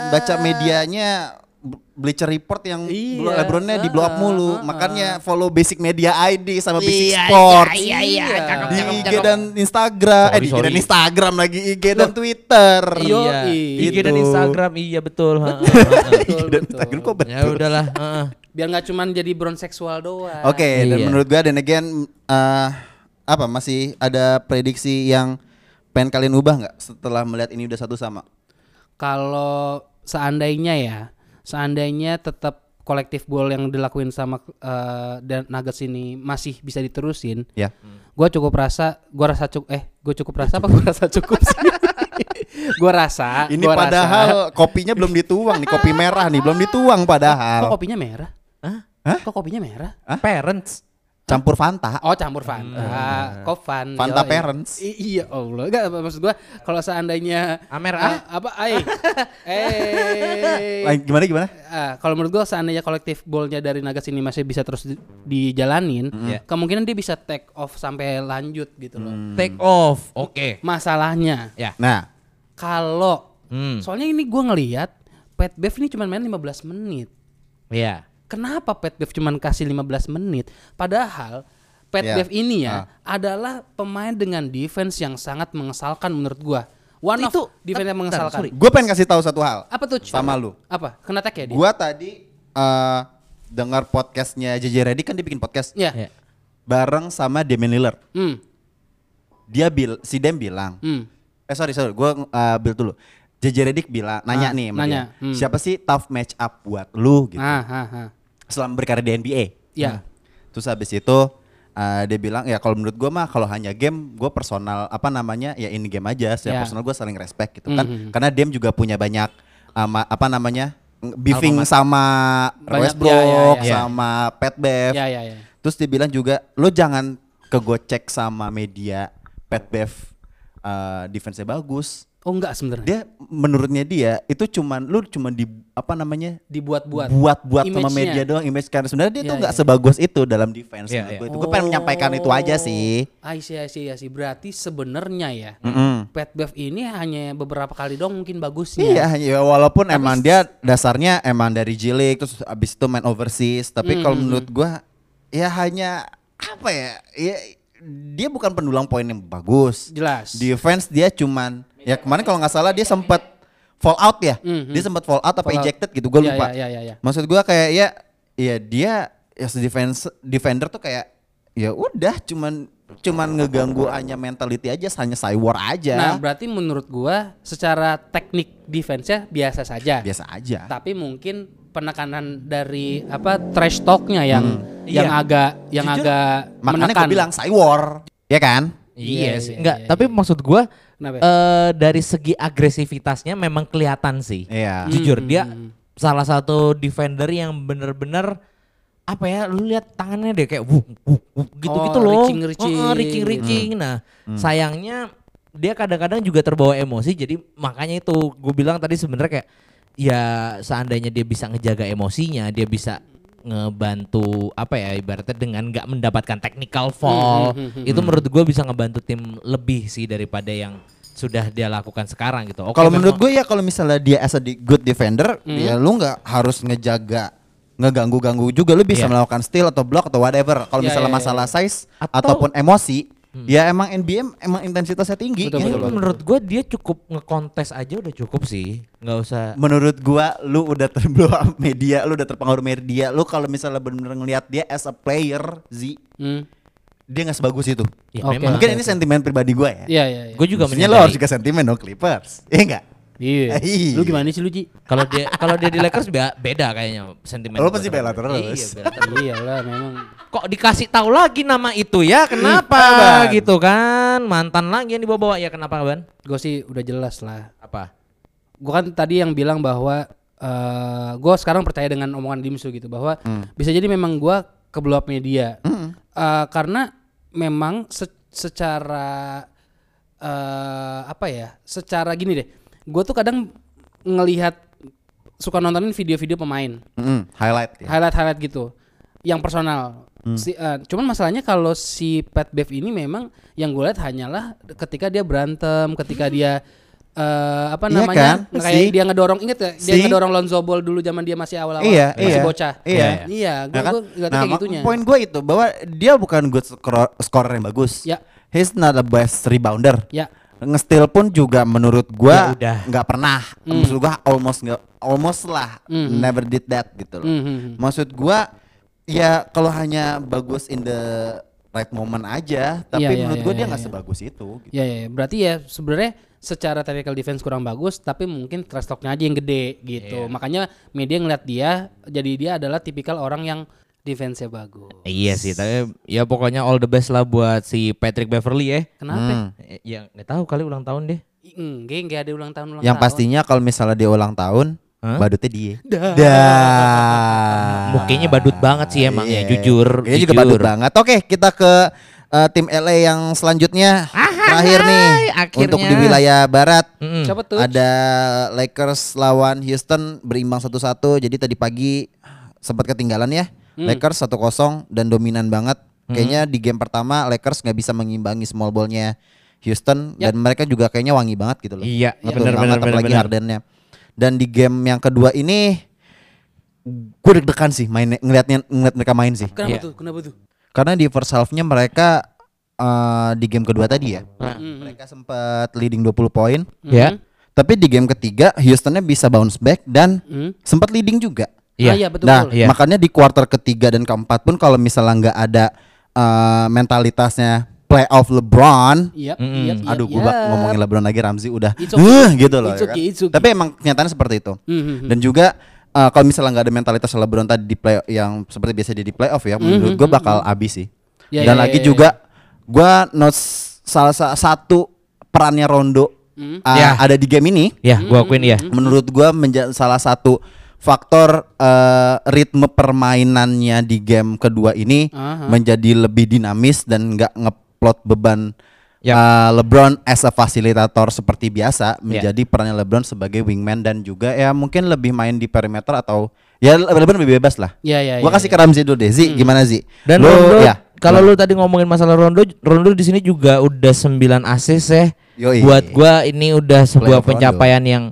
S2: baca medianya B- Bleacher Report yang
S3: Iya.
S2: blo- LeBronnya di blow up
S3: Ah,
S2: mulu.
S3: ah,
S2: Makanya follow Basic Media ID sama Basic
S1: Iya,
S2: Sports.
S1: iya iya
S3: Iya.
S1: cakep
S2: Di
S1: cakep
S2: IG
S1: cakep.
S2: dan Instagram, eh
S1: Sorry,
S2: di IG dan
S1: sorry.
S2: Instagram lagi IG dan Twitter.
S3: Yo,
S1: iya.
S3: i-
S1: IG dan
S2: gitu.
S1: Instagram iya betul ha, ha, ha.
S2: IG
S3: Betul,
S2: dan
S3: betul.
S2: Instagram kok
S1: ya
S2: betul.
S1: udahlah ha, ha.
S3: Biar nggak cuman jadi bron seksual doang.
S2: Oke, dan
S1: Iya.
S2: menurut gua dan again eh, apa masih ada prediksi yang pengen kalian ubah nggak setelah melihat ini udah satu sama?
S3: Kalau seandainya ya, seandainya tetap kolektif ball yang dilakuin sama eh, dan Nuggets ini masih bisa diterusin,
S2: Ya.
S3: gua cukup rasa, gua rasa cukup, eh, gua cukup rasa apa gua rasa cukup sih? gua rasa.
S2: Ini
S3: gua rasa-
S2: padahal kopinya belum dituang nih, kopi merah nih belum dituang
S3: Kok
S2: padahal.
S3: kopinya merah?
S1: Hah?
S3: Kok kopinya merah?
S1: parents
S2: Campur Fanta.
S3: Oh campur Fanta, kok Fanta?
S2: Fanta parents.
S3: iya Allah, enggak apa- maksud gua kalau seandainya
S1: Amer,
S3: Ah, apa ay, eh,
S2: Ah, gimana gimana?
S3: ah, kalau menurut gua seandainya kolektif bolnya dari Nuggets ini masih bisa terus di- dijalanin,
S2: Mm-hmm.
S1: Iya.
S3: kemungkinan dia bisa take off sampai lanjut gitu loh.
S2: Mm.
S1: take off oke
S3: Masalahnya
S1: ya
S2: Nah,
S3: kalau
S1: hmm
S3: soalnya ini gua ngelihat Pat Bev ini cuma main 15 menit.
S1: ya
S3: kenapa Pat Bev cuman kasih 15 menit padahal Pat
S2: Ya.
S3: Bev ini ya adalah pemain dengan defense yang sangat mengesalkan menurut gua one
S1: Itu-
S3: of defense yang
S1: Bentar,
S3: mengesalkan
S1: sorry.
S2: gue pengen kasih tahu satu hal.
S3: apa tuh Cuy?
S2: Sama lu.
S3: apa kena tag ya dia
S2: Gua tadi eh, dengar podcastnya JJ Reddy kan dia bikin podcast
S3: ya
S1: ya
S2: bareng sama Damian Lillard.
S3: hmm
S2: Dia bil, si Dem bilang,
S3: hmm
S2: Eh sorry sorry, gue build dulu. JJ Redick bilang nanya
S3: Ah,
S2: nih, sama
S3: nanya,
S2: dia,
S3: hmm.
S2: siapa sih tough match up buat lu gitu
S3: ah ah ah
S2: selama berkarir di NBA?
S3: ya
S2: Nah, Terus habis itu eh, dia bilang ya kalau menurut gue mah kalau hanya game gue personal apa namanya ya ini game aja, secara
S3: Ya.
S2: personal gue saling respect gitu kan,
S3: Mhm.
S2: karena Dem juga punya banyak ama- apa namanya beefing sama
S3: Banyak, ya, ya,
S2: Westbrook
S3: ya, ya.
S2: sama Pat Bev.
S3: ya ya ya
S2: Terus dia bilang juga lo jangan kegocek sama media Pat Bev eh, defense-nya bagus.
S3: Oh enggak sebenarnya.
S2: Dia menurutnya dia itu cuman lu cuman di apa namanya?
S3: Dibuat-buat.
S2: buat-buat sama
S3: Image-nya.
S2: media doang image karena sebenarnya dia
S3: Iya,
S2: tuh nggak
S3: iya.
S2: sebagus itu dalam defense
S1: Iya,
S2: menurut
S1: iya.
S2: gue itu. Gue pengen menyampaikan itu aja sih.
S3: Oh. Ah,
S2: Hmm.
S3: I see, I see, I see. Berarti sebenarnya ya,
S2: Mm-mm.
S3: Pet Bev ini hanya beberapa kali dong mungkin
S2: Iya,
S3: bagusnya.
S2: ya walaupun
S3: Tapi
S2: emang
S3: s-
S2: dia dasarnya emang dari Jilik terus abis itu main overseas, tapi kalau
S3: Hmm.
S2: menurut gua ya hanya apa ya? ya dia bukan pendulang poin yang bagus.
S3: Jelas.
S2: Defense dia cuman ya kemarin kalau nggak salah dia
S3: Iya,
S2: sempat fall out ya.
S3: Mhm.
S2: Dia sempat fall out apa
S3: Fallout.
S2: ejected gitu, gua
S3: Iya,
S2: lupa.
S3: Iya, iya, iya.
S2: Maksud gua kayak ya ya dia ya defense defender tuh kayak ya udah cuman cuman ngeganggu hanya mentality aja hanya cywar
S3: Nah,
S2: aja.
S3: berarti menurut gua secara teknik defense-nya biasa saja.
S2: biasa aja.
S3: Tapi mungkin penekanan dari apa trash talk-nya yang yang
S1: Iya.
S3: agak yang
S1: Jujur,
S3: agak
S2: Hmm. Makanya
S3: menekan.
S2: gue bilang cywar, ya kan?
S3: Iya,
S1: Iya sih.
S3: iya,
S1: Enggak,
S3: iya,
S1: tapi
S3: iya.
S1: maksud gua
S3: Kenapa?
S1: eh dari segi agresivitasnya memang kelihatan sih.
S3: Hmm.
S2: Iya.
S1: Jujur dia salah satu defender yang bener-bener apa ya lu lihat tangannya deh kayak wuh, wuh, wuh, gitu-gitu
S3: Oh, Hmm.
S1: loh.
S3: reaching-reaching.
S1: Heeh, reaching-reaching. Nah,
S2: Hmm.
S1: sayangnya dia kadang-kadang juga terbawa emosi jadi makanya itu gue bilang tadi sebenarnya kayak ya seandainya dia bisa ngejaga emosinya, dia bisa ngebantu apa ya ibaratnya dengan nggak mendapatkan technical fall
S3: Hmm, hmm, hmm,
S1: itu menurut gue bisa ngebantu tim lebih sih daripada yang sudah dia lakukan sekarang gitu. Oke,
S2: Kalau
S1: memang-
S2: menurut gue ya kalau misalnya dia as a di- good defender,
S3: Hmm.
S2: ya lu nggak harus ngejaga ngeganggu-ganggu juga lu bisa
S1: Iya.
S2: melakukan steal atau block atau whatever. Kalau
S3: Iya,
S2: misalnya
S3: iya, iya.
S2: masalah size
S1: Atau-
S2: ataupun emosi, ya emang NBM emang intensitasnya tinggi
S3: Betul,
S2: gitu
S1: Ini
S2: loh.
S1: menurut gue dia cukup ngekontes aja udah cukup sih, nggak usah.
S2: menurut gua lu udah terblow up media, lu udah terpengaruh media. Lu kalau misalnya bener-bener ngelihat dia as a player, Z,
S3: Hmm.
S2: dia nggak sebagus Nah, itu.
S1: Ya,
S3: Oke.
S1: memang.
S2: Mungkin ini sentimen pribadi gua ya.
S3: Iya, iya, iya.
S1: Gue juga
S2: Maksudnya lo harus
S1: menyadari
S2: juga ya. sentimen dong Clippers. Iya enggak?
S3: Iya.
S2: Iya.
S3: Lu gimana sih lu, Ji?
S1: kalau dia kalau dia di Lakers be- beda kayaknya sentimen.
S2: Lo
S1: gua
S2: pasti
S1: terhadap-
S2: bela terus.
S1: Iya, bela terus.
S3: Iyalah memang.
S1: Kok dikasih tahu lagi nama itu ya?
S2: Apaan?
S1: Kenapa gitu kan? Mantan lagi yang dibawa-bawa ya kenapa ban?
S3: Gue sih udah jelas lah.
S1: Apa?
S3: gue kan tadi yang bilang bahwa gue sekarang percaya dengan omongan Dimsu gitu bahwa bisa jadi memang gue ke blow up media Eh, karena memang se- secara eh apa ya secara gini deh gue tuh kadang ngelihat suka nontonin video-video pemain
S2: Mm, highlight ya.
S3: highlight highlight gitu yang personal
S2: Hmm.
S3: si, eh, cuman masalahnya kalau si Pat Bev ini memang yang gue lihat hanyalah ketika dia berantem ketika dia eh, apa
S2: Hmm. Iya
S3: namanya
S2: kan?
S3: kayak
S2: Si.
S3: dia ngedorong inget ya dia
S2: Si.
S3: ngedorong Lonzo Ball dulu zaman dia masih awal-awal
S2: Iya,
S3: masih
S2: iya.
S3: bocah
S2: Iya.
S3: iya gue
S2: Ya kan?
S3: nggak
S2: Nah,
S3: kayak
S2: mak-
S3: gitunya
S2: poin gue itu bahwa dia bukan good scro- scorer yang bagus.
S3: Ya.
S2: He's not the best rebounder.
S3: ya
S2: Ngestil pun juga menurut gua
S1: Ya udah.
S2: nggak pernah.
S3: Hmm.
S2: Maksud gua almost nggak almost lah never did that gitu loh.
S3: Mm, mm, mm.
S2: Maksud gua ya kalau hanya bagus in the right moment aja, tapi
S3: Iya, iya,
S2: menurut
S3: iya,
S2: gua
S3: iya,
S2: dia nggak
S3: iya.
S2: sebagus itu. gitu.
S3: ya, ya berarti ya sebenarnya secara technical defense kurang bagus tapi mungkin trash talk-nya aja yang gede gitu
S2: Iya.
S3: makanya media ngeliat dia jadi dia adalah tipikal orang yang defense-nya bagus
S1: Iya sih, tapi ya pokoknya all the best lah buat si Patrick Beverly ya.
S3: kenapa
S2: Hmm.
S1: Eh, Ya nggak tahu kali ulang tahun deh.
S3: Enggak, enggak mm, ada ulang tahun ulang
S2: Yang
S3: tahun.
S2: pastinya kalau misalnya dia ulang tahun,
S1: Hah?
S2: badutnya dia.
S3: Dah.
S2: Dah.
S1: Mukanya badut banget sih emang ya, jujur,
S2: Dia juga
S1: jujur.
S2: badut banget. Oke, kita ke eh, tim LA yang selanjutnya terakhir nih
S1: akhirnya.
S2: untuk di wilayah barat.
S1: Mm-mm.
S3: Siapa tuh?
S2: Ada Lakers lawan Houston berimbang satu-satu. Jadi tadi pagi sempat ketinggalan ya.
S1: Hmm.
S2: Lakers 1-0 dan dominan banget. Kayaknya di game pertama Lakers nggak bisa mengimbangi small ballnya Houston dan mereka juga kayaknya wangi banget gitu loh.
S1: Iya,
S2: Ngetul
S1: bener,
S2: banget,
S1: bener, bener,
S2: apalagi
S1: bener.
S2: Hardennya. Dan di game yang kedua ini gue deg-degan sih main ngelihatnya ngeliat mereka main sih.
S3: Kenapa
S1: Iya.
S3: tuh? Kenapa tuh?
S2: Karena di first half-nya mereka eh, di game kedua tadi ya.
S1: Hmm.
S3: Hmm.
S2: Mereka sempat leading 20 poin,
S1: Ya.
S2: tapi di game ketiga Houstonnya bisa bounce back dan
S3: Hmm?
S2: sempat leading juga.
S1: Iya.
S3: Ah, iya betul.
S2: nah,
S3: betul.
S1: Iya.
S2: makanya di kuarter ketiga dan keempat pun kalau misalnya nggak ada eh, mentalitasnya playoff LeBron,
S3: Iya,
S1: Mm-mm.
S3: iya, iya,
S2: Hmm. aduh gue
S3: iya.
S2: ngomongin LeBron lagi Ramzi udah
S3: It's okay.
S2: "Huh," gitu loh.
S3: It's
S2: ya
S3: okay,
S2: kan?
S3: it's okay.
S2: Tapi emang kenyataannya seperti itu.
S3: Mhm.
S2: Dan juga eh, kalau misalnya nggak ada mentalitas LeBron tadi di play yang seperti biasa dia di playoff ya, menurut gue bakal abis sih.
S3: Hmm, Ya,
S2: Dan
S3: ya,
S2: lagi
S3: ya, ya.
S2: juga gue notes salah sa- satu perannya Rondo eh,
S1: Ya.
S3: Hmm.
S2: ada di game ini.
S1: Ya, gua akuin ya.
S2: Menurut gue menjadi salah satu faktor eh, ritme permainannya di game kedua ini
S3: Aha.
S2: menjadi lebih dinamis dan nggak ngeplot beban
S1: Yap.
S3: Ya.
S2: eh, LeBron as a fasilitator seperti biasa menjadi perannya LeBron sebagai wingman dan juga ya mungkin lebih main di perimeter atau ya LeBron lebih bebas lah.
S3: Iya, iya.
S2: Gua
S3: iya,
S2: kasih ke Ramzi dulu deh, Zi. Gimana Zi?
S1: Dan
S2: Lu-
S1: Rondo,
S2: ya.
S1: kalau lu tadi ngomongin masalah Rondo, Rondo di sini juga udah 9 assist ya.
S2: Yoi.
S1: Buat gua ini udah sebuah
S2: Playoff Rondo.
S1: pencapaian yang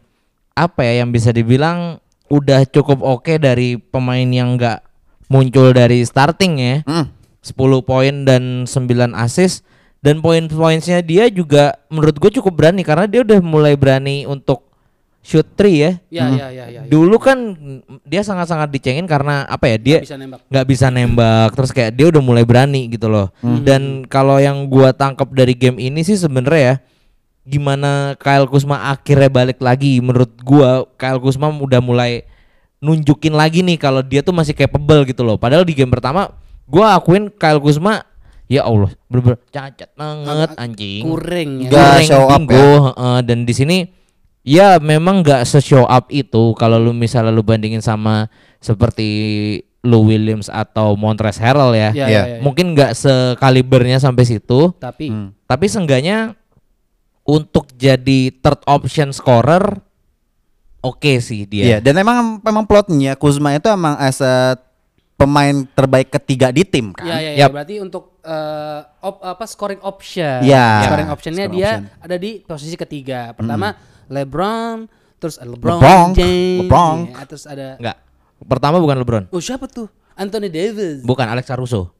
S1: apa ya yang bisa dibilang udah cukup oke dari pemain yang nggak muncul dari starting ya.
S2: Mm.
S1: 10 poin dan 9 assist dan poin-poinnya dia juga menurut gue cukup berani karena dia udah mulai berani untuk shoot three ya.
S3: Iya,
S2: Hmm.
S3: iya, iya, iya. iya.
S1: Dulu kan dia sangat-sangat dicengin karena apa ya dia
S3: Nggak bisa nembak.
S1: nggak bisa nembak terus kayak dia udah mulai berani gitu loh dan kalau yang gua tangkap dari game ini sih sebenarnya ya gimana Kyle Kuzma akhirnya balik lagi menurut gua Kyle Kuzma udah mulai nunjukin lagi nih kalau dia tuh masih capable gitu loh padahal di game pertama gua akuin Kyle Kuzma ya Allah bener-bener cacat banget anjing
S3: Kuring ya.
S2: Nggak
S1: Goreng
S2: show up
S1: bingo, heeh. dan di sini ya memang nggak se show up itu kalau lu misalnya lu bandingin sama seperti Lou Williams atau Montrezl Harrell ya.
S3: Iya,
S2: Iya.
S3: iya, iya.
S1: Mungkin nggak sekalibernya sampai situ,
S3: Tapi
S2: Hmm.
S1: tapi seenggaknya untuk jadi third option scorer oke sih
S2: Iya,
S1: dia.
S2: dan emang emang plotnya Kuzma itu emang as a pemain terbaik ketiga di tim kan.
S3: Iya, iya, iya.
S1: Yap.
S3: Berarti untuk eh, op- apa scoring option.
S2: Iya.
S3: Scoring optionnya
S2: Scoring
S3: dia
S2: option. Hmm.
S3: ada di posisi ketiga. Pertama LeBron, terus ada LeBron
S2: LeBron,
S3: James,
S2: LeBron.
S3: ya, terus ada
S1: Enggak. Pertama bukan LeBron,
S3: oh siapa tuh? Anthony Davis.
S1: bukan Alex Caruso.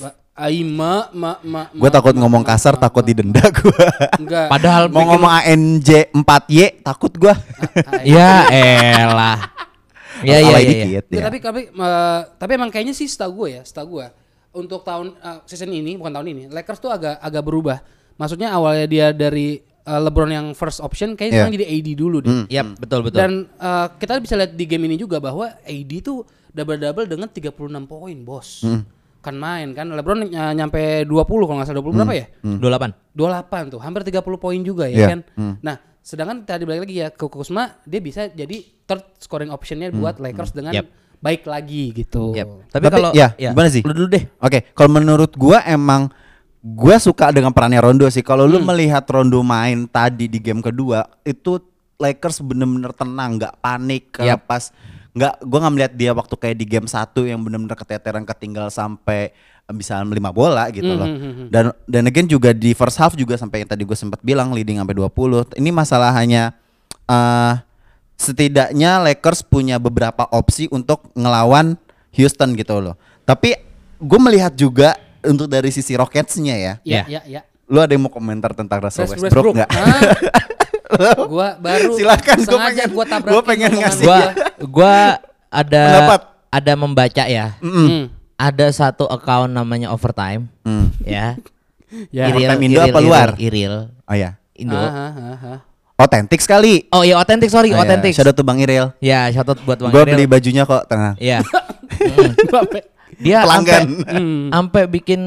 S3: Ba- Ai ma ma ma.
S2: Gue
S3: ma-
S2: takut
S3: ma-
S2: ngomong
S3: ma-
S2: kasar,
S3: ma-
S2: takut didenda gue.
S3: Enggak.
S1: Padahal
S2: Eh, Mau ngomong ANJ 4Y, takut gue.
S1: ya elah. Ya ya ya. ya.
S2: dikit. ya.
S3: Nggak, tapi tapi eh, tapi emang kayaknya sih setahu gue ya, setahu gue untuk tahun eh, season ini bukan tahun ini, Lakers tuh agak agak berubah. Maksudnya awalnya dia dari eh, LeBron yang first option
S2: Iya.
S3: kayaknya
S2: Hmm,
S3: sekarang jadi AD dulu deh.
S1: Yap, betul betul.
S3: Dan eh, kita bisa lihat di game ini juga bahwa AD tuh double-double dengan 36 poin, Bos.
S2: Hmm.
S3: Kan main kan LeBron eh, nyampe 20 kalau nggak salah 20 berapa
S2: Hmm.
S3: ya?
S1: 28.
S3: 28 tuh, hampir 30 poin juga ya
S2: Iya.
S3: kan. Nah, sedangkan tadi balik lagi ya ke Kusma, dia bisa jadi third scoring optionnya
S2: Hmm.
S3: buat Lakers dengan
S1: Yep.
S3: baik lagi gitu.
S1: Yap. Oh. Tapi,
S2: Tapi,
S1: kalau
S2: ya, gimana sih?
S1: Lu dulu deh.
S2: Oke, kalau menurut gua emang gua suka dengan perannya Rondo sih. Kalau lu melihat Rondo main tadi di game kedua, itu Lakers bener-bener tenang, nggak panik kalau
S1: Yap.
S2: pas nggak gua nggak melihat dia waktu kayak di game satu yang bener-bener keteteran ketinggal sampai eh, bisa lima bola gitu loh. Dan dan again juga di first half juga sampai yang tadi gue sempat bilang leading sampai 20. Ini masalah hanya eh setidaknya Lakers punya beberapa opsi untuk ngelawan Houston gitu loh. Tapi gue melihat juga untuk dari sisi Rockets-nya ya.
S1: Ya.
S3: Ya, ya, ya.
S2: Lu ada yang mau komentar tentang Russell
S3: Russell
S2: Westbrook nggak?
S3: Hah? gua baru
S2: Silakan, gua
S3: sengaja
S2: pengen-
S3: gua tabrakin
S2: gua pengen
S3: omongan
S2: ngasih- ya.
S1: Gua gua ada
S2: Pendapat.
S1: ada membaca ya.
S3: Hmm.
S1: Ada satu account namanya Overtime.
S2: Mm.
S1: Ya.
S3: Ya. Ah,
S2: Overtime Indo apa luar?
S1: Iril.
S2: Oh ya,
S1: Indo.
S3: Aha, aha, aha.
S2: otentik sekali.
S1: Ah. Oh iya otentik sorry, otentik.
S2: Shadow tuh Bang Iril.
S1: Ya, shout out buat Bang
S2: Gue
S1: Iril.
S2: beli bajunya kok tenang.
S1: Iya.
S3: Bape.
S1: Dia
S2: Pelanggan.
S1: ampe- ampe bikin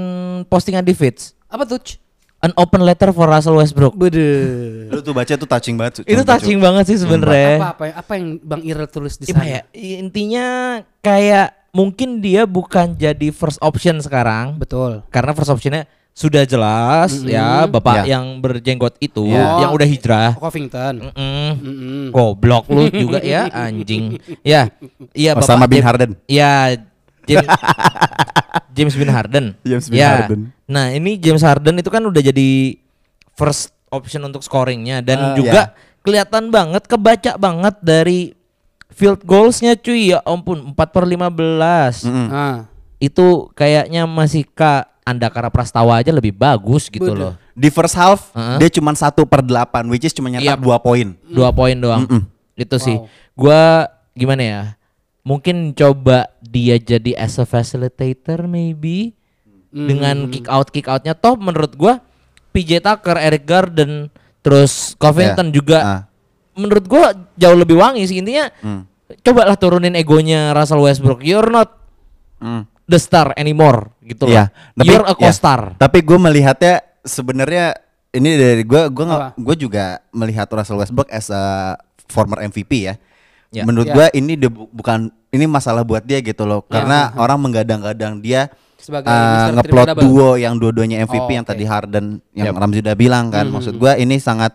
S1: postingan di feeds.
S3: hmm. Apa tuh?
S1: An open letter for Russell Westbrook.
S2: Lu tuh baca tuh touching banget.
S1: Itu touching banget sih
S3: Apa
S1: sebenarnya.
S3: apa ya? apa yang Bang Irel tulis di
S1: Apa
S3: sana?
S1: ya? Intinya kayak mungkin dia bukan jadi first option sekarang.
S3: Betul.
S1: karena first optionnya sudah jelas ya bapak
S2: Ya.
S1: yang berjenggot itu
S3: Ya.
S1: yang udah
S2: Ah.
S1: hijrah
S3: Covington.
S1: Mm-mm.
S3: Mm-mm.
S2: Oh.
S1: goblok lu juga ya anjing ya iya
S2: Osama bin
S1: Jam-
S2: Harden.
S1: ya James, James bin Harden
S2: James bin
S1: Ya.
S2: Harden.
S1: nah ini James Harden itu kan udah jadi first option untuk scoringnya dan
S2: Ah.
S1: juga kelihatan banget kebaca banget dari field goalsnya cuy ya ampun 4 per 15
S2: Hmm.
S3: Ah.
S1: itu kayaknya masih ke Andakara Prastawa aja lebih bagus gitu loh.
S3: Bener.
S2: Di first half
S1: Heeh.
S2: dia cuma satu per delapan, which is cuma
S1: Iya.
S2: nyetak dua poin.
S1: Dua poin doang. Itu sih. Gua gimana ya? Mungkin coba dia jadi as a facilitator maybe
S2: Mm.
S3: Hmm.
S1: dengan kick out kick outnya toh menurut gua PJ Tucker, Eric Garden, terus Covington
S2: Ya.
S1: juga
S2: Ah. Mm.
S1: menurut gua jauh lebih wangi sih intinya. Cobalah turunin egonya Russell Westbrook. You're not
S2: Mm.
S1: the star anymore gitu loh.
S2: Iya, tapi-
S1: You're a
S2: iya.
S1: co-star.
S2: Tapi gue melihatnya sebenarnya ini dari gue gue nggak
S3: Apa?
S2: gue juga melihat Russell Westbrook as a former MVP ya.
S1: Ya.
S2: Menurut
S3: Ya.
S2: gua ini dia bu- bukan ini masalah buat dia gitu
S3: Iya,
S2: loh. Karena orang menggadang-gadang dia
S3: Sebagai
S2: eh,
S3: Mr.
S2: ngeplot
S3: Triple Double.
S2: duo yang dua-duanya MVP
S3: Oh,
S2: yang
S3: oke. Hmm,
S2: tadi Harden yang
S1: Yap.
S2: Ramzi udah bilang kan. Maksud gua ini sangat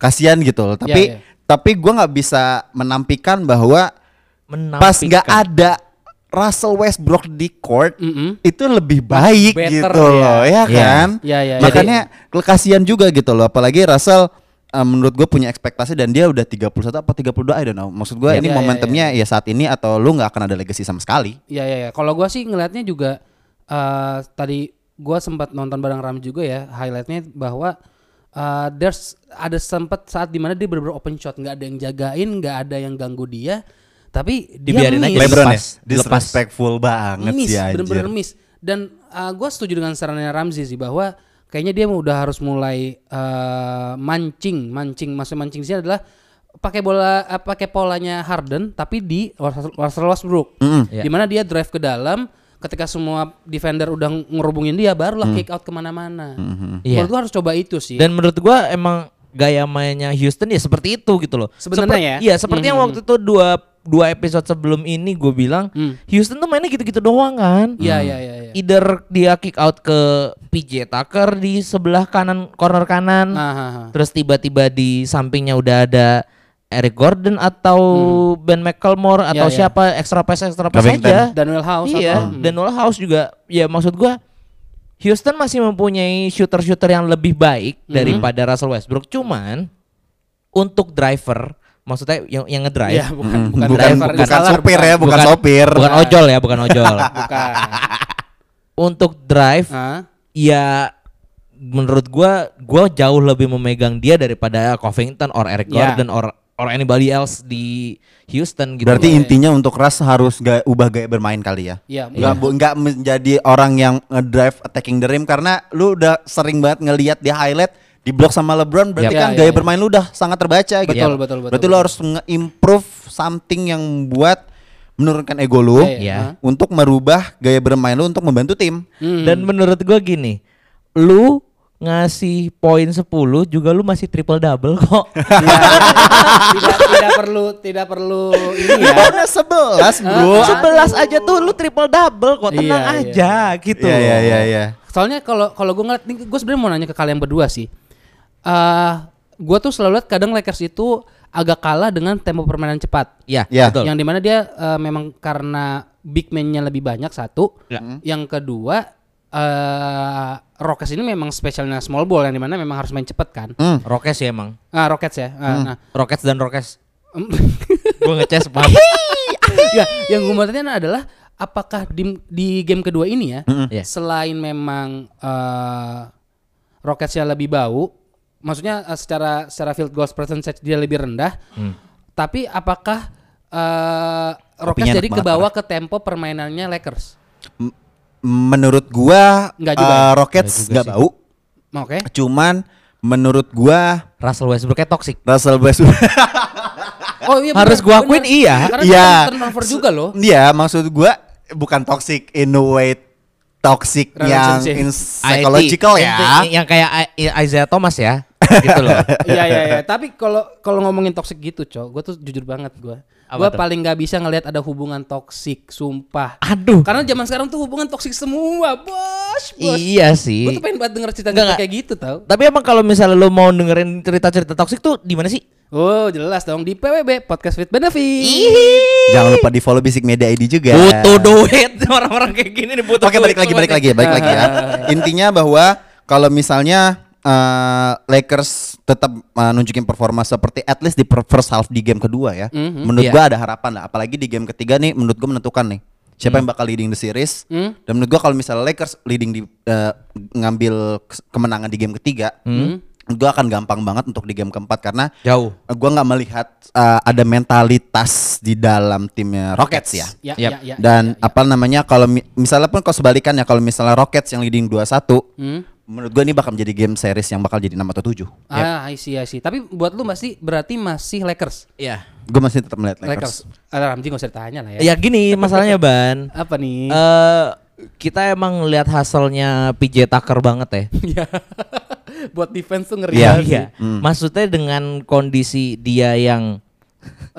S2: kasihan gitu loh. Tapi
S3: ya.
S2: tapi gua nggak bisa menampikan bahwa pas
S1: Menampilkan.
S2: nggak ada Russell Westbrook di court
S3: Mm-mm.
S2: itu lebih baik
S3: better,
S2: gitu
S3: ya.
S2: loh ya
S1: Iya.
S2: kan
S3: Iya, iya, iya.
S2: makanya kasihan juga gitu loh apalagi Russell eh, menurut gue punya ekspektasi dan dia udah 31 apa 32 I don't know maksud gue
S3: Iya.
S2: ini
S3: Iya, iya,
S2: momentumnya ya saat ini atau lu nggak akan ada legacy sama sekali
S3: Iya iya ya. Kalau gua sih ngelihatnya juga eh tadi gua sempat nonton bareng Ram juga ya highlightnya bahwa eh there's ada sempat saat dimana dia bener-bener open shot nggak ada yang jagain nggak ada yang ganggu dia tapi dia
S1: Dibiarin aja.
S3: miss.
S1: Lebron ya?
S2: Dilepas- disrespectful banget
S3: miss,
S2: sih anjir
S3: bener-bener miss. Dan gue setuju dengan sarannya Ramzi sih bahwa kayaknya dia udah harus mulai eh, mancing, mancing, maksud mancing sih adalah pakai bola, eh, pakai polanya Harden tapi di Russell Russell Westbrook,
S1: Iya.
S3: dimana dia drive ke dalam, ketika semua defender udah ngerubungin dia, barulah kick out kemana-mana.
S2: Mm-hmm.
S1: Iya.
S3: Menurut gue harus coba itu sih.
S1: Dan menurut gua emang gaya mainnya Houston ya seperti itu gitu loh.
S3: Sebenarnya
S1: Seperti-
S3: ya?
S1: Iya, seperti yang waktu itu dua dua episode sebelum ini gue bilang
S3: Hmm.
S1: Houston tuh mainnya gitu-gitu doang kan.
S3: Iya iya iya. iya.
S1: Either dia kick out ke PJ Tucker di sebelah kanan corner kanan,
S3: Ah, ah, ah.
S1: terus tiba-tiba di sampingnya udah ada Eric Gordon atau Ben McLemore atau
S3: Hmm. Iya, iya.
S1: siapa extra pass extra pass
S2: Covington.
S1: aja.
S3: Daniel House.
S1: Iya,
S3: atau-
S1: dan Nola House juga. Ya maksud gua Houston masih mempunyai shooter-shooter yang lebih baik
S3: Mhm.
S1: daripada Russell Westbrook. Cuman untuk driver, maksudnya yang, yang ngedrive,
S3: Iya, bukan bukan,
S2: bukan
S3: driver,
S2: bukan
S3: salah,
S2: sopir ya bukan, sopir
S1: bukan ojol ya, bukan ojol.
S3: Bukan.
S1: untuk drive,
S3: Ah.
S1: ya menurut gua gua jauh lebih memegang dia daripada Covington or Eric
S3: Iya.
S1: Gordon or or anybody else di Houston gitu.
S2: berarti
S1: loh.
S2: intinya untuk Ras harus gak ubah gaya bermain kali ya
S3: Iya,
S2: nggak bu- nggak menjadi orang yang ngedrive attacking the rim karena lu udah sering banget ngelihat di highlight di blok sama LeBron berarti
S3: Yap.
S2: kan
S3: Iya,
S2: gaya
S3: iya, iya.
S2: bermain lu udah sangat terbaca gitu.
S3: Betul, betul, betul,
S2: Berarti lu
S3: betul.
S2: harus nge-improve something yang buat menurunkan ego lu
S3: Iya,
S1: iya.
S3: Ah.
S2: untuk merubah gaya bermain lu untuk membantu tim.
S3: Mhm. Mm-hmm.
S1: Dan menurut gua gini, lu ngasih poin 10 juga lu masih triple double kok.
S3: tidak tidak perlu tidak perlu ini ya.
S2: Bonus 11, Bro.
S1: 11 aja tuh lu triple double kok,
S3: Iya,
S1: tenang
S3: iya.
S1: aja gitu.
S2: Iya, iya,
S1: loh.
S2: iya, iya.
S3: Soalnya kalau kalau gue ngeliat, gue sebenarnya mau nanya ke kalian berdua sih. Eh, gue tuh selalu lihat kadang Lakers itu agak kalah dengan tempo permainan cepat.
S1: Iya,
S2: Iya.
S1: betul.
S3: Yang dimana dia eh, memang karena big man-nya lebih banyak satu.
S1: Ya.
S3: Yang kedua eh Rockets ini memang spesialnya small ball yang dimana memang harus main cepat kan.
S2: Hmm.
S1: Rockets ya emang.
S3: Ah Rockets ya.
S1: Hmm.
S3: Ah, Nah,
S1: Rockets dan Rockets.
S3: em-
S1: Gua ngeces paham.
S3: ya, yang gue mau tanya adalah apakah di, di game kedua ini ya,
S1: Iya.
S3: selain memang eh Rocketsnya lebih bau, maksudnya eh, secara secara field goals percentage dia lebih rendah,
S1: Hmm.
S3: tapi apakah eh Rockets
S2: enak
S3: jadi
S2: banget,
S3: kebawa ke tempo permainannya Lakers?
S2: Menurut gua
S3: Nggak juga
S2: eh,
S3: ya?
S2: Rockets
S1: Nggak juga
S2: nggak
S1: sih.
S2: bau.
S3: Oke.
S2: Cuman menurut gua
S1: Russell Westbrooknya toxic.
S2: Russell Westbrook
S3: Oh iya.
S1: Harus
S3: benar,
S1: gua akuin
S3: benar.
S1: iya.
S3: Karena
S2: Iya.
S3: dia turnover juga loh.
S2: Iya, maksud gua bukan toxic in a way toxic yang
S3: Relationship.
S2: in psychological
S1: IT.
S2: ya.
S1: Yang- Yang kayak I- I- Isaiah Thomas ya. gitu loh.
S3: Iya iya iya. Tapi kalau kalau ngomongin toxic gitu, cok, gue tuh jujur banget gue.
S1: Apa
S3: Gue
S1: tuh?
S3: paling nggak bisa ngelihat ada hubungan toxic, sumpah.
S2: Uh.
S1: Aduh.
S3: Karena zaman sekarang tuh hubungan toksik semua, bos, bos.
S1: Iya
S3: Gue
S1: sih.
S3: tuh pengen banget denger
S1: Enggak,
S3: cerita-cerita
S1: enggak.
S3: kayak gitu tau.
S1: Tapi emang kalau misalnya lu mau dengerin cerita-cerita toxic tuh di mana sih?
S3: Oh jelas dong di PWB Podcast with Benefit.
S2: Jangan lupa di follow Bisik Media ID juga.
S1: Butuh duit orang-orang kayak gini nih butuh.
S2: Iya. Oke,
S1: duit
S2: balik lagi, balik
S1: banget.
S2: lagi, balik lagi ya. Intinya bahwa kalau misalnya eh, Lakers tetap eh, nunjukin performa seperti at least di per- first half di game kedua ya.
S1: Iya.
S2: Menurut gua ada harapan lah, apalagi di game ketiga nih menurut gua menentukan nih siapa yang bakal leading the series.
S3: Hmm.
S2: Dan menurut gua kalau misalnya Lakers leading di eh, ngambil kes- kemenangan di game ketiga, menurut gua akan gampang banget untuk di game keempat karena
S1: Jauh.
S2: gue nggak melihat uh, ada mentalitas di dalam timnya Rockets ya.
S3: Ya,
S1: Yap.
S3: ya, ya,
S2: Dan
S3: ya, ya.
S2: apa namanya kalau mi- misalnya pun kalau sebalikannya kalau misalnya Rockets yang leading 2-1,
S3: Hmm.
S2: menurut gue ini bakal menjadi game series yang bakal jadi 6 atau Ya, 7.
S3: Ah, I see, I see. Tapi buat lu masih berarti masih Lakers.
S1: Iya.
S2: Gue masih tetap melihat Lakers. Iya.
S3: Lakers. Ada Ramji nggak usah ditanya lah ya.
S1: Ya gini masalahnya Ban.
S3: Apa nih?
S1: eh kita emang lihat hasilnya PJ Tucker banget ya.
S3: Ya. buat defense tuh ngeri
S2: Iya.
S3: banget sih.
S1: Maksudnya dengan kondisi dia yang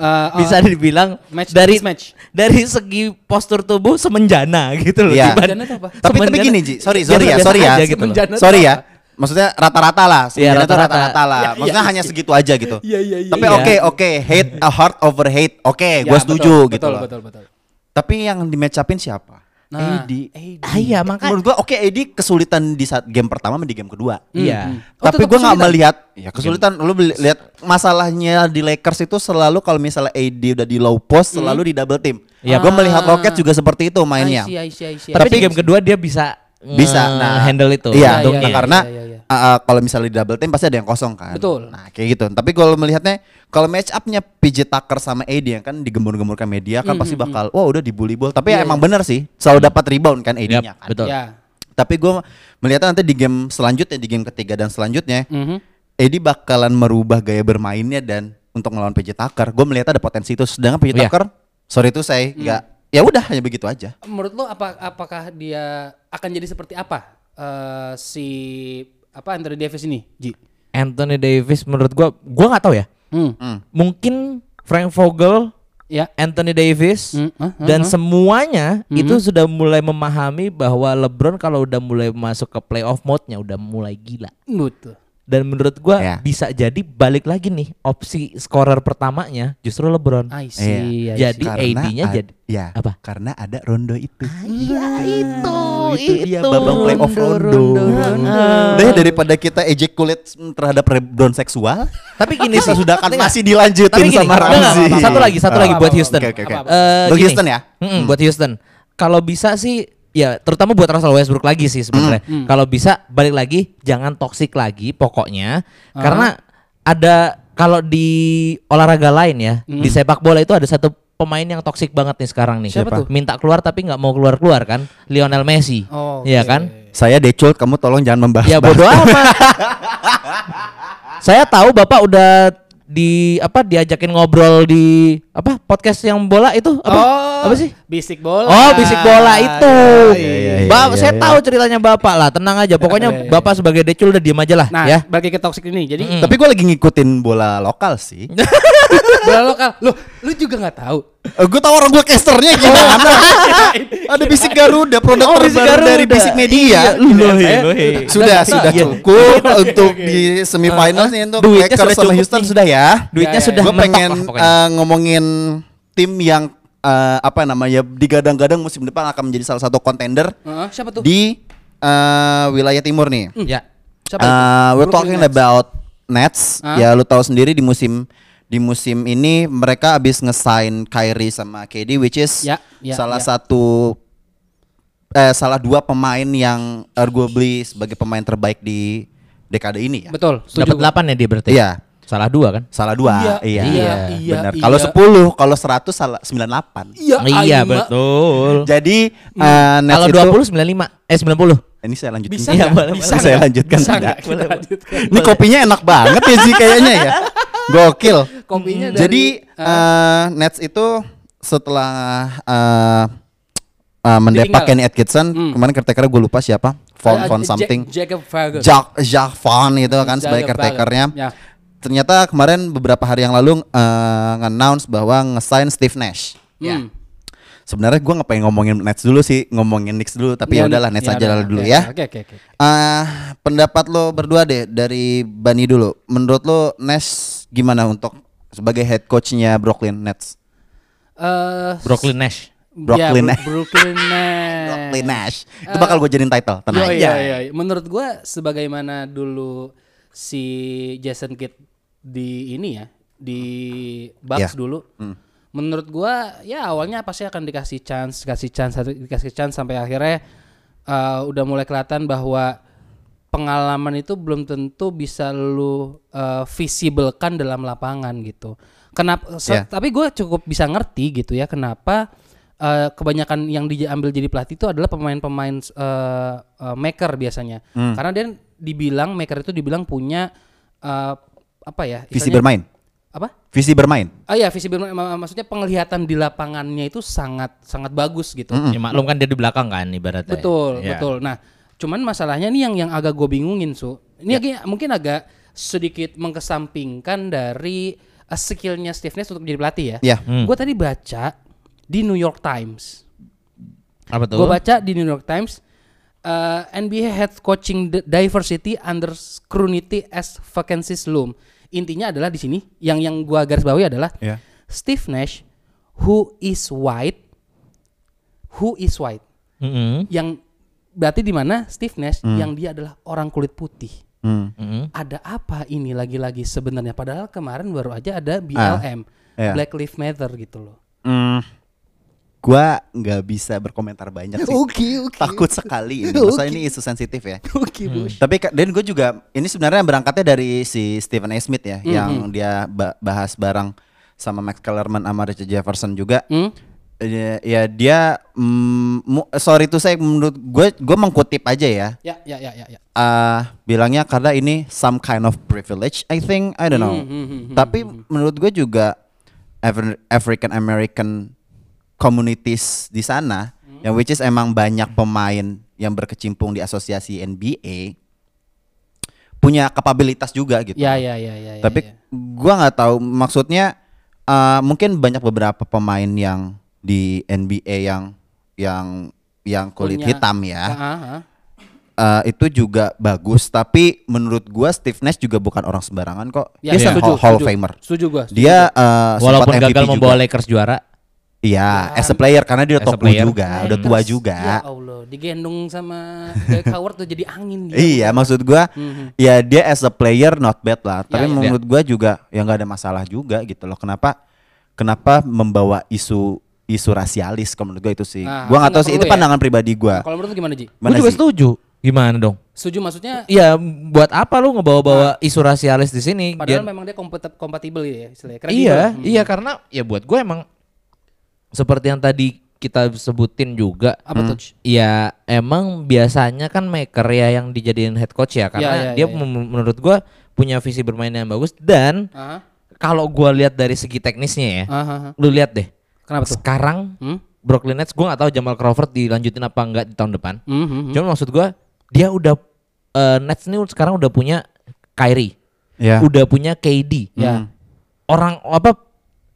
S3: eh, eh,
S1: bisa dibilang
S3: match to
S1: dari
S3: mismatch.
S1: dari segi postur tubuh semenjana gitu loh.
S2: Iya.
S1: dibanding-
S3: Semenjana itu apa?
S2: Tapi tapi
S1: Semenjana-
S2: gini Ji, sorry
S1: Biasa-
S2: sorry ya,
S1: biasa
S2: sorry ya.
S1: aja gitu loh.
S3: Semenjana tuh
S2: sorry ya.
S3: apa?
S2: Maksudnya rata-rata lah, sebenarnya tuh
S1: rata-rata.
S2: rata-rata lah.
S3: Iya, iya,
S2: Maksudnya
S3: iya.
S2: hanya segitu aja gitu.
S3: Iya, iya, iya,
S2: Tapi
S1: iya.
S2: oke oke, hate a heart over hate. Oke,
S3: Ya,
S2: gua
S3: betul,
S2: setuju
S3: betul,
S2: gitu loh.
S3: Betul, betul,
S2: Tapi yang di match up-in siapa?
S3: Nah,
S2: AD.
S1: Ah, iya makanya.
S2: Menurut gua oke AD kesulitan di saat game pertama sama di game kedua.
S1: Iya.
S3: Oh,
S2: Tapi
S3: tetap
S2: gua nggak
S3: kesulitan.
S2: melihat ya kesulitan lu beli- lihat masalahnya di Lakers itu selalu kalau misalnya AD udah di low post selalu di double team.
S1: Iya.
S2: Gua melihat
S3: Hmm. Ah.
S2: Rocket juga seperti itu mainnya.
S3: I see, I see, I see.
S1: Tapi,
S2: Tapi-
S1: di game kedua dia bisa
S2: bisa nah
S1: handle itu.
S2: iya,
S3: Iya, iya,
S2: nah, karena
S3: iya, iya, iya.
S2: uh, uh, kalau misalnya di double team pasti ada yang kosong kan
S3: Betul.
S2: nah kayak gitu tapi kalau melihatnya kalau match upnya PJ Tucker sama AD yang kan digembur-gemburkan media kan pasti bakal wah udah dibully bol tapi
S3: Hmm, Iya,
S2: ya emang
S3: iya.
S2: bener sih selalu dapat rebound kan
S1: Yap,
S2: AD-nya kan
S1: betul.
S3: Ya.
S2: tapi gue melihatnya nanti di game selanjutnya di game ketiga dan selanjutnya
S3: Mhm.
S2: AD bakalan merubah gaya bermainnya dan untuk melawan PJ Tucker gue melihat ada potensi itu sedangkan PJ
S1: Iya. Hmm.
S2: Tucker sorry itu saya nggak ya udah hanya begitu aja
S3: Menurut lo apa apakah dia akan jadi seperti apa eh, si apa Anthony Davis ini, Ji?
S1: Anthony Davis menurut gua gua nggak tahu ya.
S3: Hmm.
S1: Mungkin Frank Vogel,
S3: Ya.
S1: Anthony Davis
S3: Hmm, ah, ah,
S1: dan
S3: ah.
S1: semuanya
S2: Hmm.
S1: itu sudah mulai memahami bahwa LeBron kalau udah mulai masuk ke playoff mode-nya udah mulai gila.
S3: Betul.
S1: Dan menurut gua
S2: Ya.
S1: bisa jadi balik lagi nih opsi scorer pertamanya justru LeBron.
S3: I see.
S1: Iya.
S3: I see.
S1: Jadi- Di AD-nya
S2: ad-
S1: jadi-
S2: ya
S1: apa?
S2: karena ada rondo itu
S1: Iya itu,
S2: itu dia babak playoff rondo. Udah ya, daripada kita ejaculate terhadap rebound seksual,
S1: Tapi gini
S2: kita
S1: sih,
S2: sudah akan
S1: dengar.
S2: masih dilanjutin
S1: Tapi gini,
S2: sama
S1: enggak, enggak,
S2: Ramzi.
S1: enggak, satu lagi, satu
S2: Ah.
S1: lagi buat
S2: Apa-apa,
S1: Houston.
S2: Oke, oke, oke.
S3: Apa-apa.
S1: Eh,
S2: Buat
S1: gini.
S2: Houston ya?
S1: Mm-mm, buat Houston. Kalau bisa sih ya terutama buat Russell Westbrook lagi sih sebenarnya. Kalau bisa balik lagi jangan toksik lagi pokoknya
S2: Ah.
S1: karena ada kalau di olahraga lain ya, di sepak bola itu ada satu pemain yang toksik banget nih sekarang nih.
S3: Siapa tuh?
S1: Minta keluar tapi nggak mau keluar-keluar kan? Lionel Messi.
S3: Oh,
S1: Iya
S3: oke.
S1: kan?
S2: Saya decul, kamu tolong jangan membahas.
S1: Ya bodoh amat. Saya tahu Bapak udah di apa diajakin ngobrol di apa podcast yang bola itu apa
S3: Oh,
S1: apa sih?
S3: Bisik bola. Ya,
S1: Oh, bisik bola itu.
S2: iya, iya, iya,
S1: Ba-
S2: iya,
S1: saya
S2: iya.
S1: tahu ceritanya Bapak lah, tenang aja. Pokoknya Bapak sebagai decul udah diem aja lah
S3: Iya, Nah,
S1: ya.
S3: bagi ke toxic ini. Jadi
S1: Hmm.
S2: Tapi gue lagi ngikutin bola lokal sih.
S3: bola lokal. Loh, lu juga nggak tahu.
S2: gue tau Eh, orang gue casternya gimana. Ada bisik Garuda, produk
S1: Iya. Oh, Bisik Iya,
S2: terbaru dari
S1: Garuda.
S2: bisik
S3: Iya,
S2: media.
S3: saya-
S2: Sudah,
S3: Iya.
S2: sudah
S3: Iya.
S2: cukup untuk di semifinal nih untuk
S1: Iya. Duitnya
S2: Lakers
S1: sudah
S2: sama
S1: cukup
S2: Houston
S1: nih.
S2: sudah ya.
S1: Duitnya
S3: Ya, ya,
S1: sudah
S2: gue
S1: mentok
S2: pengen
S1: lah pokoknya.
S2: eh, ngomongin tim yang eh, apa namanya digadang-gadang musim depan akan menjadi salah satu kontender
S3: Heeh, siapa tuh? Hmm.
S2: di eh, wilayah timur nih.
S1: ya.
S3: Siapa itu?
S2: Eh, we're talking
S3: Brooklyn Nets.
S2: about Nets.
S3: Hah?
S2: Ya lu tahu sendiri di musim di musim ini mereka abis ngesign Kyrie sama KD which is
S3: Ya, ya,
S2: salah
S3: ya.
S2: satu eh salah dua pemain yang arguably sebagai pemain terbaik di dekade ini ya.
S3: Betul,
S1: Dapat
S3: setuju.
S1: 8 ya dia berarti.
S2: Iya.
S1: Salah dua kan?
S2: Salah dua,
S3: Iya,
S2: iya,
S3: iya, iya,
S2: benar.
S3: iya.
S2: Kalau 10, kalau 100 salah 98.
S3: Iya,
S1: iya
S3: Aima.
S1: betul.
S2: Jadi eh, Nets
S1: Kalau
S2: itu-
S1: 20 95 eh 90.
S2: ini saya lanjutin.
S3: Bisa
S1: Iya,
S3: nggak?
S1: boleh,
S2: Bisa,
S3: Bisa
S2: saya
S3: nggak?
S2: lanjutkan
S3: Bisa
S2: tidak?
S3: nggak kita lanjutkan?
S2: Ini kopinya enak banget ya sih kayaknya ya. Gokil.
S3: Kopinya dari
S2: Mm. Jadi eh, Nets itu setelah eh eh, mendepak
S3: Ditinggal.
S2: Kenny Atkinson,
S3: Hmm.
S2: kemarin caretaker gue lupa siapa, Von
S3: Eh,
S2: Von something,
S3: Jacob Ferguson.
S2: Jack Jack Von itu kan sebagai
S3: Jacob
S2: caretakernya.
S3: Ferguson. Ya.
S2: Ternyata kemarin beberapa hari yang lalu eh, nge-announce bahwa nge-sign Steve Nash.
S3: Ya.
S2: Sebenarnya gue nggak pengen ngomongin Nets dulu sih, ngomongin Knicks dulu, tapi ya udahlah Nets
S3: ya
S2: aja
S3: udah,
S2: lah dulu
S3: oke,
S2: ya.
S3: Oke oke oke.
S2: Ah, pendapat lo berdua deh dari Bani dulu. Menurut lo Nash gimana untuk sebagai head coachnya Brooklyn Nets?
S3: Eh,
S1: Brooklyn Nash.
S2: Brooklyn
S3: ya,
S2: Nets.
S3: Bro- Brooklyn Nets.
S2: Brooklyn Nash. Itu bakal gue jadiin title, tenang.
S3: Yo, Eh. iya, iya. Menurut gua sebagaimana dulu si Jason Kidd di ini ya di Bucks
S2: Iya.
S3: dulu. Menurut gua ya awalnya pasti akan dikasih chance, dikasih chance, satu- dikasih chance sampai akhirnya eh, udah mulai kelihatan bahwa pengalaman itu belum tentu bisa lu eh, visiblekan dalam lapangan gitu. Kenapa? se-
S2: Iya.
S3: Tapi gue cukup bisa ngerti gitu ya kenapa eh, kebanyakan yang diambil jadi pelatih itu adalah pemain-pemain eh, eh, maker biasanya.
S2: Hmm.
S3: Karena dia dibilang maker itu dibilang punya eh, apa ya?
S2: Visi
S3: istilahnya-
S2: bermain.
S3: Apa?
S2: Visi bermain.
S3: Ah ya visi bermain ma- maksudnya penglihatan di lapangannya itu sangat sangat bagus gitu.
S1: Ya, maklum kan dia di belakang kan ibaratnya.
S3: Betul,
S1: Ya.
S3: betul. Nah, cuman masalahnya nih yang yang agak gue bingungin, Su. Ini agak- mungkin agak sedikit mengkesampingkan dari eh, skillnya Steve Nash untuk jadi pelatih ya.
S2: Iya.
S3: Gue tadi baca di New York Times.
S1: Apa tuh?
S3: Gue baca di New York Times eh, NBA head coaching d- diversity under scrutiny as vacancies loom. Intinya adalah di sini yang yang gua garis bawahi adalah
S2: Iya.
S3: Steve Nash who is white who is white
S1: Mm-mm.
S3: yang berarti di mana Steve Nash yang dia adalah orang kulit putih.
S2: Hmm.
S1: Mm-mm.
S3: Ada apa ini lagi-lagi sebenarnya padahal kemarin baru
S2: Ah.
S3: aja ada BLM
S2: iya.
S3: Black Lives Matter gitu loh.
S2: Hmm. Gua nggak bisa berkomentar banyak sih.
S3: oke.
S2: Takut sekali ini. Masa ini isu sensitif ya.
S3: Oke, Bos.
S2: Tapi ka- dan gue juga ini sebenarnya berangkatnya dari si Stephen A. Smith ya, yang
S3: Mm-hmm.
S2: dia ba- bahas bareng sama Max Kellerman sama Richard Jefferson juga.
S3: Hmm?
S2: Eh, Ya dia mm, mu- sorry tuh saya menurut gue gue mengkutip aja ya.
S3: Ya, ya, ya, ya, ya.
S2: Ah, bilangnya karena ini some kind of privilege I think I don't
S3: Hmm,
S2: know.
S3: Mm-hmm.
S2: Tapi menurut gue juga Afri- African American communities di sana
S3: Mm-hmm.
S2: yang which is emang banyak pemain yang berkecimpung di asosiasi NBA punya kapabilitas juga gitu.
S3: Ya, ya, ya, ya. ya,
S2: Tapi
S3: ya.
S2: gua nggak tahu maksudnya eh, mungkin banyak beberapa pemain yang di NBA yang yang yang kulit
S3: Punya-
S2: hitam ya
S3: Ah, ah, ah.
S2: eh, itu juga bagus tapi menurut gua Steve Nash juga bukan orang sembarangan kok
S3: Ya,
S2: dia
S3: ya.
S2: seorang
S3: Setuju,
S2: Hall, Hall of
S3: setuju.
S2: Famer
S3: Setuju gua. setuju
S2: dia
S3: gua.
S2: eh,
S1: Walaupun
S2: sempat MVP
S1: gagal
S2: juga.
S1: membawa Lakers juara.
S2: iya as a player karena
S1: As a
S2: dia udah tua
S1: player.
S2: juga
S3: Lakers,
S2: ya, udah tua juga
S3: Nah, Ya Allah, digendong sama Dwight Howard tuh jadi angin gitu. Hmm, dia.
S2: Iya, maksud gua ya dia as a player not bad lah, tapi
S3: Ya, ya.
S2: menurut gua juga ya nggak ada masalah juga gitu loh. Kenapa kenapa membawa isu isu rasialis kalau menurut gua itu sih.
S3: Nah,
S2: gua nggak
S3: itu
S2: tahu
S3: nggak
S2: sih itu
S3: perlu ya.
S2: pandangan pribadi gua.
S3: Kalau menurut lu gimana, Ji?
S1: Gue
S2: Mana
S1: juga
S2: sih?
S1: setuju. Gimana dong?
S3: Setuju maksudnya
S1: Ya buat apa lu ngebawa-bawa isu rasialis di sini?
S3: Nah. padahal
S1: Dia-
S3: memang dia kompet- kompatibel ya istilahnya.
S1: iya,
S3: Kredibel.
S1: iya karena ya buat gue emang seperti yang tadi kita sebutin juga.
S3: Apa tuh? Ji?
S1: Ya emang biasanya kan maker ya yang dijadiin head coach ya
S3: Ya, ya,
S1: karena dia
S3: ya, ya.
S1: mem- menurut gue punya visi bermain yang bagus dan
S2: Hmm.
S3: Ah,
S1: kalau gue lihat dari segi teknisnya ya,
S3: ah, ah, ah.
S1: lu lihat deh.
S3: Kenapa tuh?
S1: Sekarang
S3: Hmm?
S1: Brooklyn Nets gue nggak tahu Jamal Crawford dilanjutin apa enggak di tahun depan.
S3: Hmm, hmm, hmm.
S1: Cuma maksud gua dia udah eh, Nets ini sekarang udah punya Kyrie,
S2: Ya.
S1: udah punya KD.
S3: Ya.
S1: Orang apa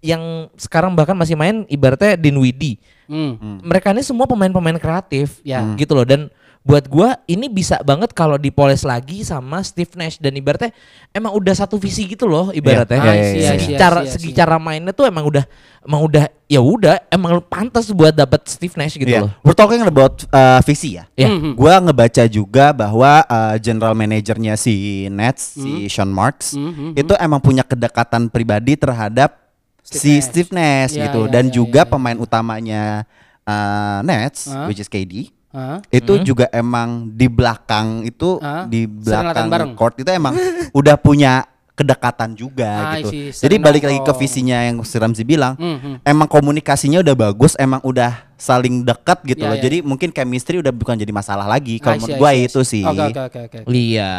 S1: yang sekarang bahkan masih main ibaratnya Dinwiddie.
S3: Hmm.
S1: Mereka ini semua pemain-pemain kreatif
S3: Ya.
S1: gitu loh dan buat gua ini bisa banget kalau dipoles lagi sama Steve Nash dan ibaratnya emang udah satu visi gitu loh ibaratnya.
S2: Iya, iya, iya,
S1: Segi
S3: iya,
S1: cara
S3: iya,
S1: segi
S3: iya.
S1: cara mainnya tuh emang udah emang udah ya udah emang pantas buat dapat Steve Nash gitu
S2: Iya.
S1: loh.
S2: We're talking about uh, visi ya.
S1: Ya.
S3: Mhm.
S2: Gua ngebaca juga bahwa uh, general manajernya si Nets, si
S3: Hmm.
S2: Sean Marks,
S3: Mhm,
S2: itu emang punya kedekatan pribadi terhadap
S3: Steve
S2: si
S3: Nash.
S2: Steve Nash
S3: Ya,
S2: gitu
S3: ya,
S2: dan
S3: ya,
S2: juga
S3: ya, ya.
S2: pemain utamanya uh, Nets,
S3: Hah?
S2: which is KD.
S3: Ah.
S2: itu juga emang di belakang itu
S3: Ah,
S2: di
S3: sering
S2: belakang
S3: latihan bareng.
S2: court itu emang udah punya kedekatan juga
S3: Ah,
S2: gitu.
S3: I see,
S2: Jadi
S3: sering
S2: balik lagi ke
S3: nongkrong.
S2: visinya yang si Ramzi bilang,
S3: Hmm, hmm.
S2: emang komunikasinya udah bagus, emang udah saling dekat gitu
S3: Ya,
S2: loh.
S3: ya.
S2: Jadi mungkin chemistry udah bukan jadi masalah lagi
S3: I
S2: kalau
S3: see,
S2: menurut
S3: I
S2: gua
S3: see, I
S2: itu
S3: see.
S2: sih.
S3: Oke, oke, oke, oke.
S1: Iya.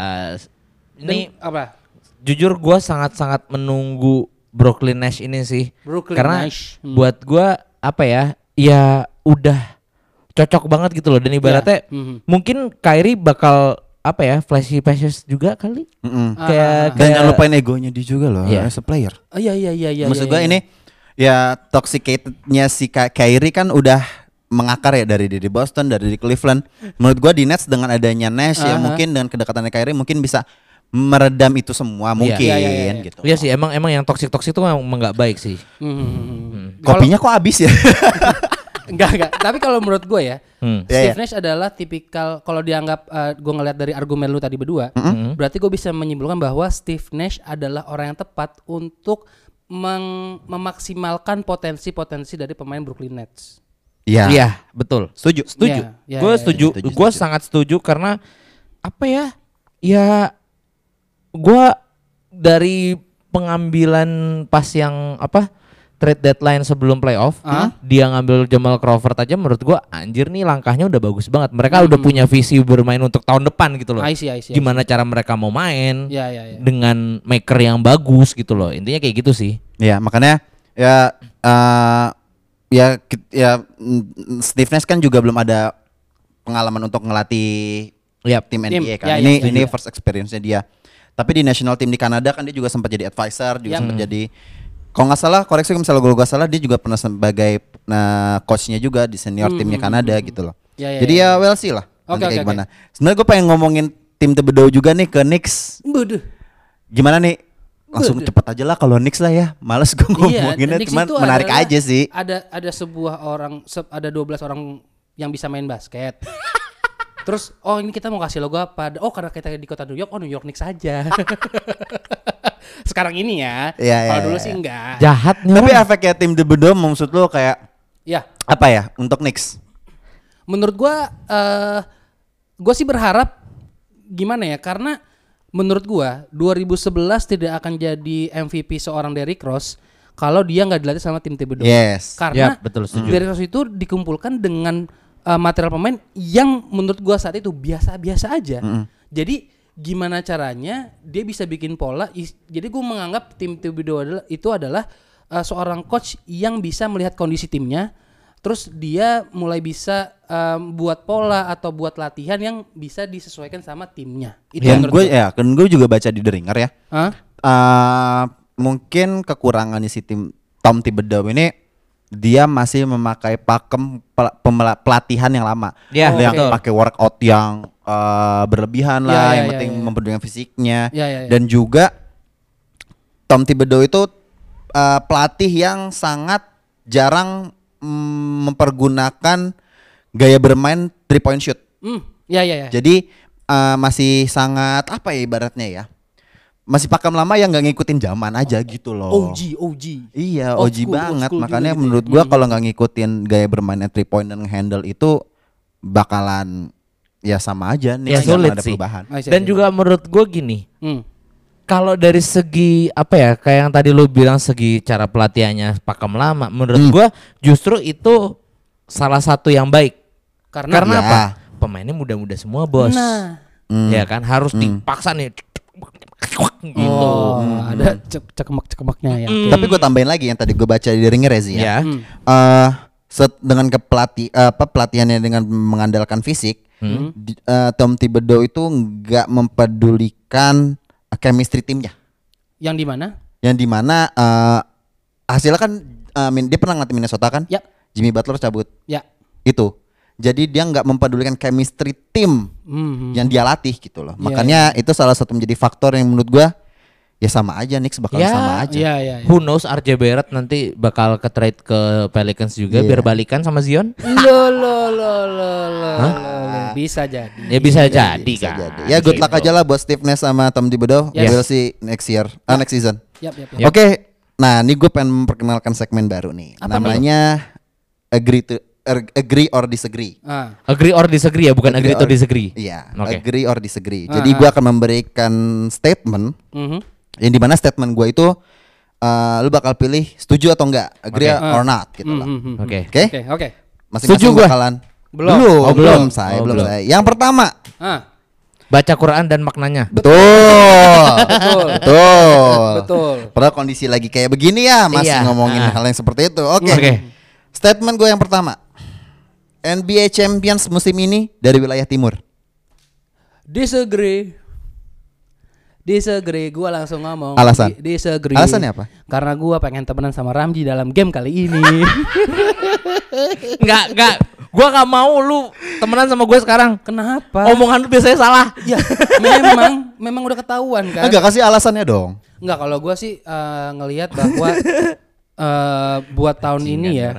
S1: Ini
S3: Dan apa?
S1: jujur gue sangat-sangat menunggu Brooklyn Nash ini sih.
S3: Brooklyn
S1: Karena
S3: Nash, hmm.
S1: buat gue apa ya? Ya udah cocok banget gitu loh. Dan ibaratnya
S3: mhm.
S1: mungkin Kyrie bakal apa ya flashy flashes juga kali.
S2: Mm-mm.
S3: Ah,
S1: Kayak,
S3: ah,
S2: Dan
S1: kayak-
S2: jangan lupain egonya dia juga loh
S1: Iya.
S2: as a player.
S3: Oh, iya iya iya iya.
S2: Maksud
S3: iya,
S2: gua
S3: iya.
S2: ini ya toxicatednya si Ka- Kyrie kan udah mengakar ya dari di Boston, dari di Cleveland. Menurut gua di Nets dengan adanya Nash ya
S3: Aha.
S2: mungkin dengan kedekatan Kyrie mungkin bisa meredam itu semua mungkin
S1: Iya,
S3: iya, iya, iya.
S2: gitu.
S1: Iya sih emang emang yang toxic toxic itu emang nggak baik sih.
S3: Hmm, hmm, hmm, hmm. Kalau-
S2: Kopinya kok habis ya?
S3: Enggak, enggak. Tapi kalau menurut gue ya,
S1: Hmm.
S2: Ya,
S3: Steve Nash adalah tipikal kalau dianggap gue ngelihat dari argumen lu tadi berdua, berarti gue bisa menyimpulkan bahwa Steve Nash adalah orang yang tepat untuk meng- memaksimalkan potensi-potensi dari pemain Brooklyn Nets.
S2: Iya.
S1: Iya betul.
S2: Setuju.
S1: Setuju.
S3: Iya, iya,
S1: gue
S3: iya,
S1: setuju.
S2: iya. Setuju,
S1: Gue
S2: setuju.
S1: sangat setuju karena apa ya? Ya gue dari pengambilan pas yang apa trade deadline sebelum playoff,
S3: Ah.
S1: dia ngambil Jamal Crawford aja menurut gue anjir nih langkahnya udah bagus banget. Mereka udah punya visi bermain untuk tahun depan gitu loh.
S3: Hmm. I see, I see, I see.
S1: Gimana cara mereka mau main
S3: Ya, ya, ya.
S1: dengan maker yang bagus gitu loh. Intinya kayak gitu sih.
S2: Iya, makanya ya eh, ya ki- ya mm, Steve Nash kan juga belum ada pengalaman untuk ngelatih
S1: Yap.
S2: tim
S3: Tim,
S2: NBA kan.
S3: ya, ya,
S2: ini
S3: setuju.
S2: ini first experience-nya dia. Tapi di national team di Kanada kan dia juga sempat jadi advisor, juga
S3: Yap.
S2: sempat jadi Kalau nggak salah, koreksi kalau misalnya gue nggak salah, dia juga pernah sebagai nah, coachnya juga di senior
S3: Hmm,
S2: timnya Kanada gitu loh.
S3: Ya, ya,
S2: Jadi ya, well sih lah. nanti
S3: Oke, oke,
S2: kayak
S3: oke.
S2: gimana. Sebenarnya gue pengen ngomongin tim Tebedo juga nih ke Knicks.
S3: Bodoh.
S2: Gimana nih? Langsung cepet aja lah kalau Knicks lah ya. Males gue ngomonginnya,
S3: Iya, Knicks
S2: cuman
S3: itu
S2: menarik
S3: adalah-
S2: aja sih.
S3: Ada ada sebuah orang se- ada 12 orang yang bisa main basket. Terus oh ini kita mau kasih logo apa? Oh karena kita di kota New York, oh New York Knicks saja. Sekarang ini ya.
S2: Iya, iya,
S3: Kalau dulu
S2: iya,
S3: sih
S2: iya.
S3: enggak.
S1: Jahatnya.
S2: Tapi efeknya tim Tebedo maksud lo kayak
S3: Ya,
S2: apa ya untuk Knicks?
S3: menurut gua eh gua sih berharap gimana ya? Karena menurut gua 2011 tidak akan jadi MVP seorang Derrick Rose kalau dia nggak dilatih sama tim Thibodeau.
S2: Yes.
S3: Karena
S1: Yap, betul, setuju.
S3: Derrick Rose itu dikumpulkan dengan uh, material pemain yang menurut gua saat itu biasa-biasa aja. Jadi gimana caranya dia bisa bikin pola? is- jadi gua menganggap tim Thibodeau adalah itu adalah uh, seorang coach yang bisa melihat kondisi timnya, terus dia mulai bisa um, buat pola atau buat latihan yang bisa disesuaikan sama timnya. Itu
S2: Dan
S3: menurut
S2: gue
S3: gua.
S2: ya, kan gue juga baca di The Ringer ya.
S3: Hah?
S2: Eh, mungkin kekurangannya si tim Tom Thibodeau ini dia masih memakai pakem pel- pemela- pelatihan yang lama.
S1: Ya,
S2: yang
S1: betul.
S2: pakai workout yang eh, berlebihan
S3: Ya,
S2: lah,
S3: ya,
S2: yang
S3: ya,
S2: penting
S3: ya.
S2: memperdulikan fisiknya.
S3: Ya, ya, ya.
S2: Dan juga Tom Thibodeau itu eh, pelatih yang sangat jarang mm, mempergunakan gaya bermain three point shoot.
S3: Hmm, ya ya ya.
S2: Jadi eh, masih sangat apa ya ibaratnya ya? Masih pakem lama yang nggak ngikutin zaman aja gitu loh.
S3: OG OG.
S2: Iya,
S3: Old
S2: OG
S3: school, old
S2: banget.
S3: school
S2: Makanya
S3: juga gitu
S2: menurut
S3: ya.
S2: gua
S3: Hmm.
S2: kalau nggak ngikutin gaya bermainnya three point dan handle itu bakalan ya sama aja nih
S1: Ya,
S2: nggak
S1: sulit
S2: ada
S1: sih.
S2: perubahan.
S3: I see, I
S1: Dan
S3: see.
S1: juga menurut gue gini,
S3: Hmm.
S1: kalau dari segi apa ya, kayak yang tadi lu bilang segi cara pelatihannya pakem lama, menurut
S2: Hmm.
S1: gua justru itu salah satu yang baik.
S3: Karena,
S1: Karena
S2: Ya.
S1: apa? Pemainnya muda-muda semua, Bos.
S3: Nah,
S2: Hmm.
S1: Ya kan harus dipaksa nih gitu.
S3: Oh, ada cek cekemak cekemaknya ya. oke.
S2: Tapi gue tambahin lagi yang tadi gue baca di ringer ya Zi, ya.
S1: Ya.
S3: Hmm.
S2: Eh, set- dengan kepelati eh, apa pelatihannya dengan mengandalkan fisik,
S3: Hmm.
S2: di- eh, Tom Thibodeau itu nggak mempedulikan chemistry timnya.
S3: Yang di mana?
S2: yang dimana eh hasilnya kan eh, Min- dia pernah ngelatih Minnesota kan
S3: Ya,
S2: Jimmy Butler cabut
S3: ya.
S2: itu jadi dia nggak mempedulikan chemistry tim
S3: Mhm.
S2: yang dia latih gitu loh
S3: Iya,
S2: makanya itu salah satu menjadi faktor yang menurut gua ya sama aja Knicks bakal
S1: Ya,
S2: sama aja
S3: Iya, iya. iya.
S1: Who knows RJ Barrett nanti bakal ke trade ke Pelicans juga
S2: Iya.
S1: biar balikan sama Zion?
S3: Lo lo lo lo lo, lo, lo. Ah, bisa jadi.
S1: Ya bisa
S2: Jadi,
S1: jadi
S2: bisa
S1: kan.
S2: jadi. ya good luck aja lah buat Steve Nash sama Tom Thibodeau
S3: Yes.
S2: we'll see next year ah, next season
S3: Yap, yap, yap.
S2: oke nah ini gue pengen memperkenalkan segmen baru nih
S3: Apa
S2: namanya agree to er- agree or disagree
S3: Ah,
S1: Agree or disagree ya, bukan agree, to
S2: or-
S1: disagree.
S2: Iya,
S1: Oke.
S2: agree or disagree. Jadi gua akan memberikan statement
S3: mhm.
S2: yang dimana statement gua itu eh, lu bakal pilih setuju atau enggak, agree or not gitu lah.
S3: Mhm, mhm.
S1: Mm-hmm. Oke.
S2: Oke?
S3: Oke, oke.
S2: Masing-masing
S1: Setuju gua?
S2: bakalan
S3: Belum.
S2: Belum,
S1: Oh,
S2: belum,
S1: belum.
S2: saya,
S1: Oh,
S2: belum,
S1: belum.
S2: saya. Yang pertama.
S3: Ah,
S1: Baca Quran dan maknanya.
S2: Betul.
S3: Betul.
S2: Betul.
S3: Betul.
S2: Padahal kondisi lagi kayak begini ya, masih
S1: Iya,
S2: ngomongin
S1: ah.
S2: hal yang seperti itu. Oke.
S1: Oke.
S2: Statement gua yang pertama. NBA Champions musim ini dari wilayah timur.
S3: disagree. Disagree, gua langsung ngomong.
S2: Alasan?
S3: Di- Disagree.
S2: Alasannya apa?
S3: Karena gua pengen temenan sama Ramji dalam game kali ini.
S1: Enggak, enggak. Gua gak mau lu temenan sama gue sekarang.
S3: Kenapa?
S2: Oh,
S1: Omongan lu biasanya salah.
S3: Ya, memang memang udah ketahuan kan.
S2: Enggak kasih alasannya dong.
S3: Nggak kalau gua sih eh, ngelihat bahwa eh, buat tahun ini ya,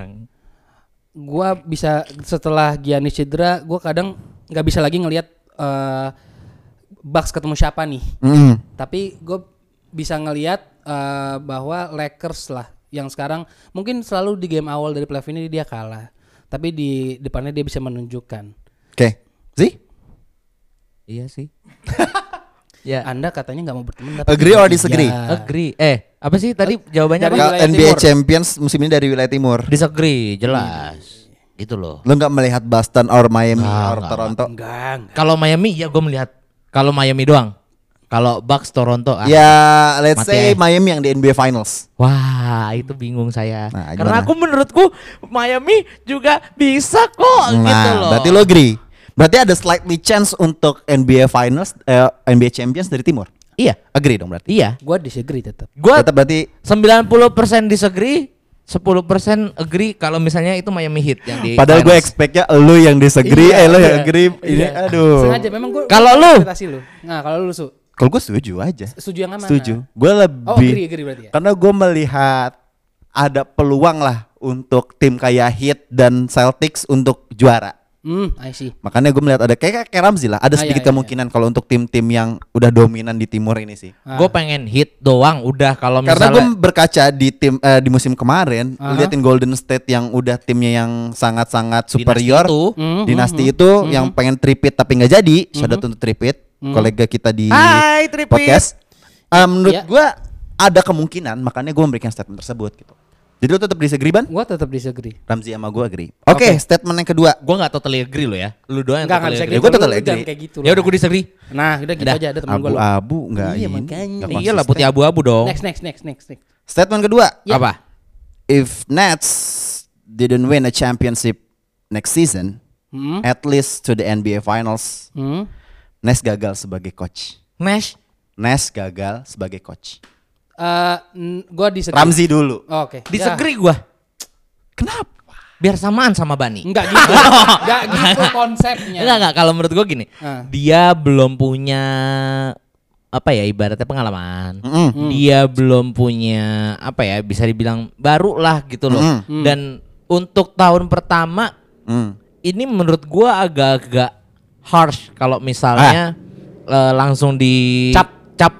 S3: gua bisa setelah Giannis cedera, gua kadang nggak bisa lagi ngelihat eh Bucks ketemu siapa nih.
S2: Mm.
S3: Tapi gue bisa ngelihat eh, bahwa Lakers lah yang sekarang mungkin selalu di game awal dari playoff ini dia kalah, tapi di depannya dia bisa menunjukkan.
S2: Oke. Zee?
S1: Iya sih. ya.
S3: Anda katanya nggak mau berteman. tapi
S2: Agree or
S3: tiba-tiba.
S2: disagree?
S1: Agree. Eh, apa sih tadi jawabannya
S3: Dari
S1: apa?
S2: Ka-
S3: wilayah
S2: NBA
S3: timur.
S2: Champions musim ini dari wilayah timur.
S1: Disagree, jelas. Gitu loh.
S2: Lo nggak melihat Boston or Miami
S3: Nah,
S1: Nggak,
S2: or
S1: nggak,
S2: Toronto?
S3: Enggak, enggak.
S1: Kalau Miami ya gue melihat. Kalau Miami doang. Kalau Bucks Toronto ah.
S2: Ya, let's
S1: Mati
S2: say
S1: aja.
S2: Miami yang di NBA Finals.
S1: Wah, itu bingung saya.
S2: Nah,
S1: Karena
S2: gimana?
S1: aku menurutku Miami juga bisa
S3: Oh,
S1: kok
S2: Nah,
S1: gitu loh.
S2: berarti lo agree. Berarti ada slightly chance untuk NBA Finals, eh, NBA Champions dari timur.
S1: Iya.
S2: Agree dong berarti.
S1: Iya.
S3: Gua disagree tetap.
S1: Gua
S2: Tetap berarti
S1: 90% disagree, 10% agree kalau misalnya itu Miami Heat yang di
S2: padahal gue
S1: finals.
S2: expectnya lu yang disagree,
S3: Iya,
S2: eh lu yang
S3: iya,
S2: agree. Ini
S3: iya.
S2: aduh.
S3: Sengaja memang gua
S1: Kalau
S3: gua
S1: lu?
S3: interpretasi lu. Nah, kalau lu su
S2: Kalau gue setuju aja.
S3: setuju yang mana?
S2: Setuju. Gue lebih
S3: Oh, agree agree berarti ya.
S2: Karena gue melihat ada peluang lah untuk tim kayak Heat dan Celtics untuk juara.
S3: Hmm, I see.
S2: Makanya gue melihat ada kayak kayak Ramzi lah, ada
S3: Ah, iya,
S2: sedikit
S3: iya,
S2: kemungkinan kalau untuk tim-tim yang udah dominan di timur ini sih.
S3: Ah.
S1: Gue pengen hit doang udah kalau
S2: Karena gue
S1: misalnya
S2: berkaca di tim eh, di musim kemarin,
S3: Aha.
S2: liatin Golden State yang udah timnya yang sangat-sangat
S1: dinasti
S2: superior.
S1: itu,
S3: Mhm. Mhm.
S2: Dinasti itu yang pengen tripit tapi nggak jadi, shout out untuk tripit, kolega kita di
S3: Ah,
S1: Hai, Tripit.
S2: podcast. Eh, menurut
S3: Iya.
S2: gue ada kemungkinan, makanya gue memberikan statement tersebut gitu. Jadi lu tetap disagree Ban?
S3: Gua tetap disagree.
S2: Ramzi sama gue agree. Oke, statement yang kedua.
S1: gue nggak totally agree lo ya. Lu doang yang
S3: Enggak, enggak
S1: totally
S3: bisa
S1: agree.
S2: gua total
S3: Lu jangan
S2: agree.
S3: kayak gitu.
S1: Ya
S3: lah.
S1: udah gue disagree.
S3: Nah, udah gitu
S1: Udah.
S3: aja ada teman gua lu.
S2: Abu-abu nggak ini,
S3: Iya, makanya.
S2: nggak
S1: Iya lah Ya.
S2: konsisten.
S1: putih abu-abu dong.
S3: Next Ya. next next next next.
S2: Statement kedua.
S1: Apa?
S2: If Nets didn't win a championship next season,
S3: Hmm.
S2: at least to the NBA Finals,
S3: Hmm.
S2: Nets gagal sebagai coach.
S1: Nash.
S2: Nets gagal sebagai coach.
S3: Eh, n- gua disagree.
S2: Ramzi dulu.
S3: Oh, Oke.
S1: Disagree gue. Kenapa? Biar samaan sama
S3: Ya,
S1: Bani.
S3: Enggak gitu. Enggak gitu konsepnya.
S1: Enggak enggak kalau menurut gue gini.
S3: Ah.
S1: Dia belum punya apa ya ibaratnya pengalaman.
S3: Mm-hmm.
S2: Mm-mm.
S1: Dia belum punya apa ya bisa dibilang baru lah gitu loh.
S2: Mm.
S3: Mm-hmm.
S1: Dan untuk tahun pertama
S2: Mm.
S1: ini menurut gua agak-agak harsh kalau misalnya eh, langsung di
S3: Ah. Cap.
S1: cap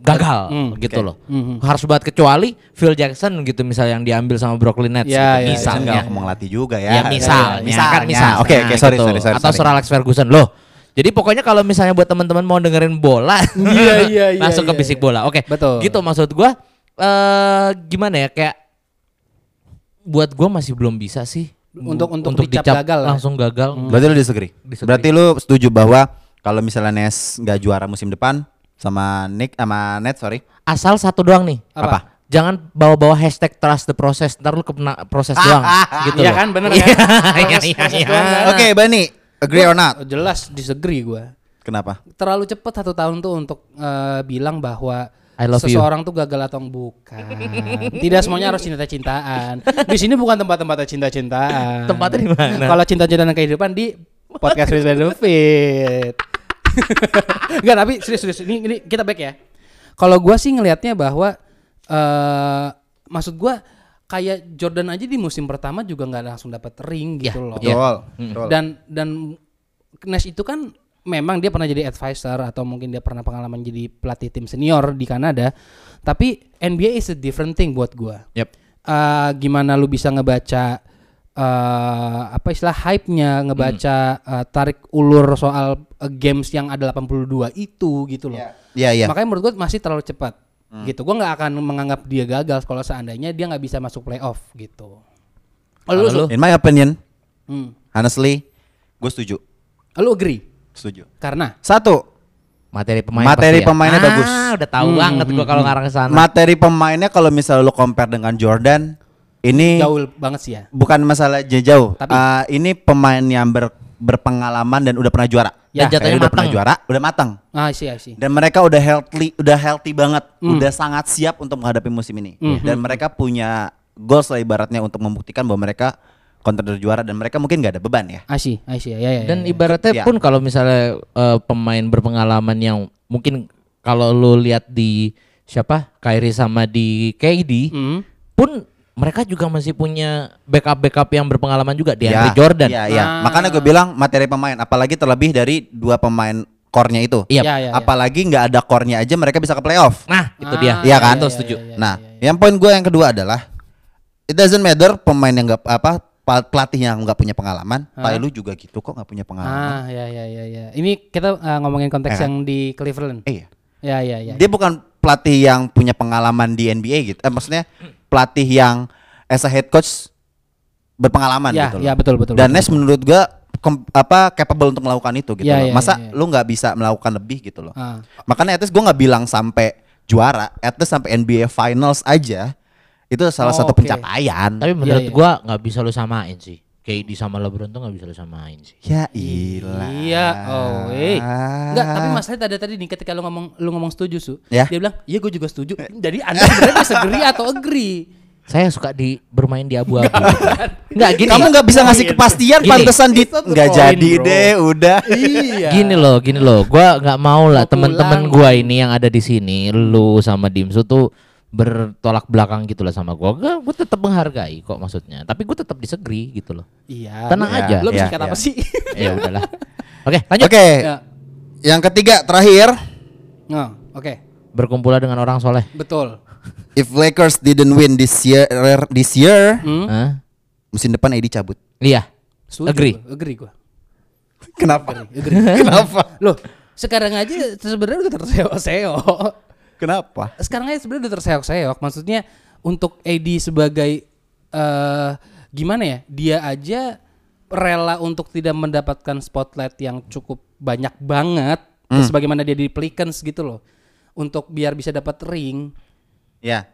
S1: gagal gitu loh.
S3: Mhm.
S1: Harus banget kecuali Phil Jackson gitu misalnya yang diambil sama Brooklyn Nets gitu,
S3: Ya, ya,
S2: Kan
S1: misalnya.
S2: nggak ngomong latih juga
S1: Ya,
S2: ya.
S1: misalnya, kan misal.
S2: Oke, oke, sorry, sorry, sorry.
S1: Atau
S2: sorry.
S1: Sir Alex Ferguson loh. Jadi pokoknya kalau misalnya buat teman-teman mau dengerin bola,
S3: Iya, iya, iya,
S1: langsung ke
S3: iya,
S1: bisik
S3: iya.
S1: bola. Oke.
S3: Betul.
S1: Gitu maksud gua eh gimana ya kayak buat gua masih belum bisa sih
S3: Untuk- untuk dicap
S1: dicap
S3: gagal ya? Hmm. lah.
S1: langsung gagal.
S2: Hmm. Berarti lu disagree.
S1: Disagree.
S2: Berarti lu setuju bahwa kalau misalnya Nets nggak juara musim depan sama Nick sama Nets sorry.
S1: Asal satu doang nih.
S3: Apa?
S1: Jangan bawa-bawa hashtag trust the process, ntar lu kena proses doang gitu
S3: Iya
S1: loh.
S3: kan, bener
S1: Iya, Iya,
S3: kan? Proses-
S1: iya,
S3: proses
S1: iya.
S3: doang kan?
S2: Oke, Bani, agree or not?
S3: Oh, Jelas disagree gua.
S2: Kenapa?
S3: terlalu cepat satu tahun tuh untuk eh, bilang bahwa
S1: I love you.
S3: seseorang tuh gagal atau bukan. Tidak semuanya harus cinta-cintaan. Di sini bukan tempat-tempat cinta-cintaan.
S1: Tempatnya di mana?
S3: Kalau cinta-cintaan kehidupan di podcast Riz Benefit. Enggak, tapi serius-serius ini, ini kita back ya. Kalau gua sih ngelihatnya bahwa eh maksud gua kayak Jordan aja di musim pertama juga nggak langsung dapat ring
S1: Ya,
S3: gitu loh.
S2: Betul. betul.
S3: Dan dan Nash itu kan memang dia pernah jadi advisor atau mungkin dia pernah pengalaman jadi pelatih tim senior di Kanada. Tapi NBA is a different thing buat gua.
S1: Yep.
S3: Eh, gimana lu bisa ngebaca eh apa istilah hype-nya, ngebaca eh, tarik ulur soal eh, games yang ada 82 itu gitu loh.
S2: Iya, iya.
S3: Makanya menurut gue masih terlalu cepat. Gitu. Gua nggak akan menganggap dia gagal kalau seandainya dia nggak bisa masuk playoff gitu. Oh,
S1: Kalau
S3: lu, lu,
S1: lu-
S2: In my opinion,
S3: hmm.
S2: honestly, gue setuju.
S3: lu agree?
S2: Setuju.
S3: Karena
S2: Satu,
S1: Materi pemain
S2: Materi
S1: pasti ya.
S2: pemainnya
S1: Ah,
S2: bagus.
S1: udah tahu
S3: Hmm,
S1: banget gua kalau ngarang ke sana.
S2: materi pemainnya kalau misalnya lu compare dengan Jordan, ini
S3: gaul banget sih ya.
S2: bukan masalah j- jauh.
S3: Tapi-
S2: Eh, ini pemain yang ber- berpengalaman dan udah pernah juara.
S1: Dan jatuhnya
S3: Ya,
S2: Kayaknya udah
S1: matang.
S2: pernah juara, udah matang.
S3: Ah, I see, I see.
S2: dan mereka udah healthy udah healthy banget udah sangat siap untuk menghadapi musim ini dan mereka punya goals lah ibaratnya untuk membuktikan bahwa mereka contender juara dan mereka mungkin nggak ada beban ya
S3: I see, I see. Ya, ya,
S1: Dan
S3: ya, ya.
S1: ibaratnya
S2: Ya.
S1: pun kalau misalnya eh, pemain berpengalaman yang mungkin kalau lu lihat di siapa? Kyrie sama di KD
S3: Hmm.
S1: pun mereka juga masih punya backup-backup yang berpengalaman juga di
S2: Ya,
S1: Jordan.
S2: ya, ya.
S3: Ah.
S2: makanya gue bilang materi pemain apalagi terlebih dari dua pemain core-nya itu
S1: Iya.
S3: Ya, ya, ya.
S2: apalagi nggak ada core-nya aja mereka bisa ke playoff
S1: Nah, itu
S3: Ah,
S1: dia.
S2: Iya kan?
S1: Itu setuju.
S3: iya, iya,
S2: nah
S3: iya,
S2: yang poin gue yang kedua adalah it doesn't matter pemain yang nggak apa pa- pelatih yang nggak punya pengalaman Tai lu juga gitu kok nggak punya pengalaman
S3: Ah, ya, ya, ya, ya. Ini kita eh, ngomongin
S2: Ya
S3: konteks
S2: kan?
S3: yang di Cleveland.
S2: eh iya.
S3: Ya, ya, ya.
S2: Dia bukan pelatih yang punya pengalaman di NBA gitu. Eh, maksudnya pelatih yang as a head coach berpengalaman
S3: ya,
S2: gitu loh.
S3: ya, betul, betul.
S2: Dan
S3: betul.
S2: Nes menurut gua kom- apa capable untuk melakukan itu gitu
S3: Ya,
S2: loh.
S3: ya,
S2: Masa
S3: ya, ya.
S2: lu nggak bisa melakukan lebih gitu loh.
S3: Ah.
S2: Makanya at least gua nggak bilang sampai juara, at least sampai NBA Finals aja. Itu salah
S3: Oh,
S2: satu
S3: oke.
S2: pencapaian.
S1: Tapi menurut
S3: iya.
S1: gua nggak bisa lu samain sih. KD sama LeBron tuh nggak bisa disamain sih.
S2: Ya ilah.
S3: Iya, oh, eh. Enggak, tapi masalahnya tadi tadi nih ketika lu ngomong lu ngomong setuju, Su.
S2: Ya. Eh.
S3: Dia bilang, "Iya, gue juga setuju." Jadi Anda sebenarnya bisa agree atau agree.
S1: Saya suka di bermain di abu-abu. Enggak gini.
S2: Kamu nggak bisa ngasih kepastian
S1: Gini.
S2: pantesan di nggak
S3: poin,
S2: jadi
S3: bro.
S2: deh, udah.
S3: iya.
S1: Gini loh, gini loh. Gua nggak mau lah
S3: Mau
S1: teman-teman gua
S3: pulang.
S1: ini yang ada di sini, lu sama Dimsu tuh bertolak belakang gitu lah sama gua. Gua, gua tetap menghargai kok maksudnya. Tapi gua tetap disagree gitu loh.
S3: Iya.
S1: Tenang
S2: Iya,
S1: aja.
S3: Lu bisa
S2: iya, Eh.
S3: kata apa
S2: iya.
S3: sih?
S1: ya udahlah. Oke, lanjut.
S2: Oke.
S3: Ya.
S2: Yang ketiga terakhir,
S3: Nah, oke.
S1: Berkumpulah dengan orang soleh.
S3: Betul.
S2: if Lakers didn't win this year this year,
S3: Hmm?
S1: Hah?
S2: musim depan AD cabut.
S1: Iya.
S3: Setuju
S1: Agree.
S3: gua, Agree gua.
S2: Kenapa?
S3: Agree.
S2: Kenapa?
S3: Loh, sekarang aja sebenarnya udah terseok-seok.
S2: Kenapa?
S3: sekarang aja sebenarnya udah terseok-seok. Maksudnya untuk AD sebagai eh gimana ya? Dia aja rela untuk tidak mendapatkan spotlight yang cukup banyak banget
S1: Hmm.
S3: sebagaimana dia di Pelicans gitu loh. Untuk biar bisa dapat ring.
S2: Ya.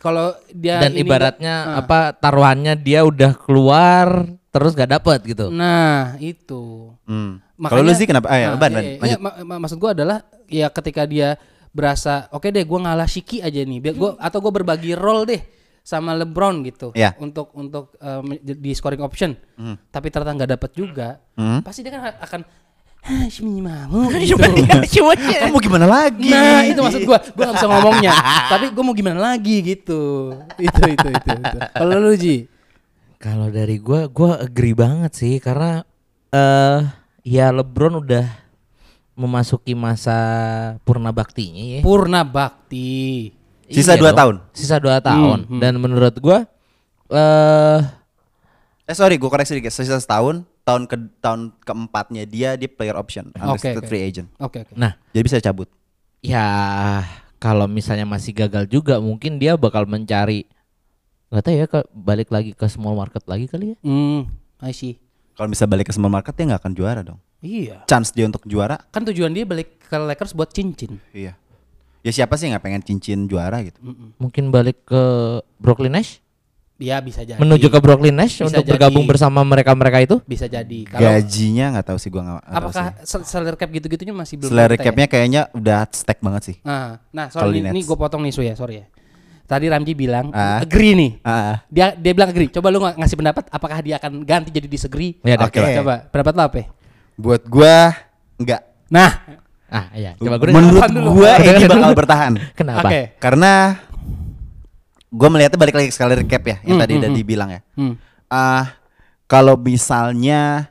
S3: Kalau dia
S1: Dan
S3: ini-
S1: ibaratnya
S3: Ah.
S1: apa taruhannya dia udah keluar terus gak dapet gitu.
S3: Nah, itu.
S2: Hmm.
S3: Makanya-
S2: Kalau lu sih kenapa? Ah, ya,
S3: Nah,
S2: Ban,
S3: iya,
S2: Ban,
S3: iya,
S2: lanjut.
S3: iya, ma- ma- maksud gua adalah ya ketika dia berasa oke deh gua ngalah Shiki aja nih biar gua atau gua berbagi role deh sama LeBron gitu
S2: Iya. Hmm.
S3: untuk untuk eh, men- di scoring option. Tapi ternyata nggak dapat juga. Pasti dia kan a- akan "Hah, si minimamu gitu.
S2: Kamu gimana lagi?
S3: Nah, itu maksud gua. Gua nggak bisa ngomongnya. Tapi gua mau gimana lagi gitu. Itu itu itu. itu. Kalau lu Ji,
S1: Kalau dari gua gua agree banget sih karena eh ya LeBron udah memasuki masa purna baktinya ya. Iya
S3: Purna Bakti.
S2: Sisa dua tahun.
S1: Sisa dua tahun dan menurut gua eh
S2: Eh sorry, gue koreksi dikit. Sisa setahun, tahun ke tahun keempatnya dia di player option, unrestricted
S3: oke.
S2: free agent.
S3: Oke, oke.
S1: nah
S2: Jadi bisa cabut.
S1: ya kalau misalnya masih gagal juga mungkin dia bakal mencari nggak tahu ya ke, balik lagi ke small market lagi kali ya.
S3: Hmm, I see.
S2: Kalau bisa balik ke small market dia nggak akan juara dong.
S3: Iya.
S2: Chance dia untuk juara.
S3: Kan tujuan dia balik ke Lakers buat cincin.
S2: Iya. Ya siapa sih yang nggak pengen cincin juara gitu?
S1: Mungkin balik ke Brooklyn Nash
S3: Dia bisa jadi.
S1: menuju ke Brooklyn Nash
S3: Bisa
S1: untuk
S3: jadi.
S1: bergabung bersama mereka-mereka itu.
S3: bisa jadi. Kalau
S2: Gajinya nggak tahu sih gue nggak nggak tahu sih.
S3: apakah sel- salary cap gitu-gitunya masih belum
S2: Selera
S3: rata ya?
S2: capnya kayaknya udah stack banget sih.
S3: Nah, nah
S2: Kalau
S3: sorry
S2: di Nets.
S3: ini, gue potong nih Su ya, sorry ya. Tadi Ramji bilang
S2: Ah.
S3: agree nih.
S2: Ah,
S3: Dia dia bilang agree. Coba lu ng- ngasih pendapat apakah dia akan ganti jadi disagree?
S1: Ya, dah,
S2: Oke.
S1: coba.
S3: Coba pendapat lo apa? ya?
S2: buat gua nggak.
S3: Nah,
S1: Ah, iya. Coba gue
S2: Menurut
S3: Apaan dulu?
S2: gua ini
S1: Dengerin
S2: bakal
S1: dulu.
S2: bertahan.
S1: Kenapa?
S3: oke.
S2: Karena gua melihatnya balik lagi ke salary cap ya, yang tadi udah dibilang ya.
S3: Hmm.
S2: Ah, kalau misalnya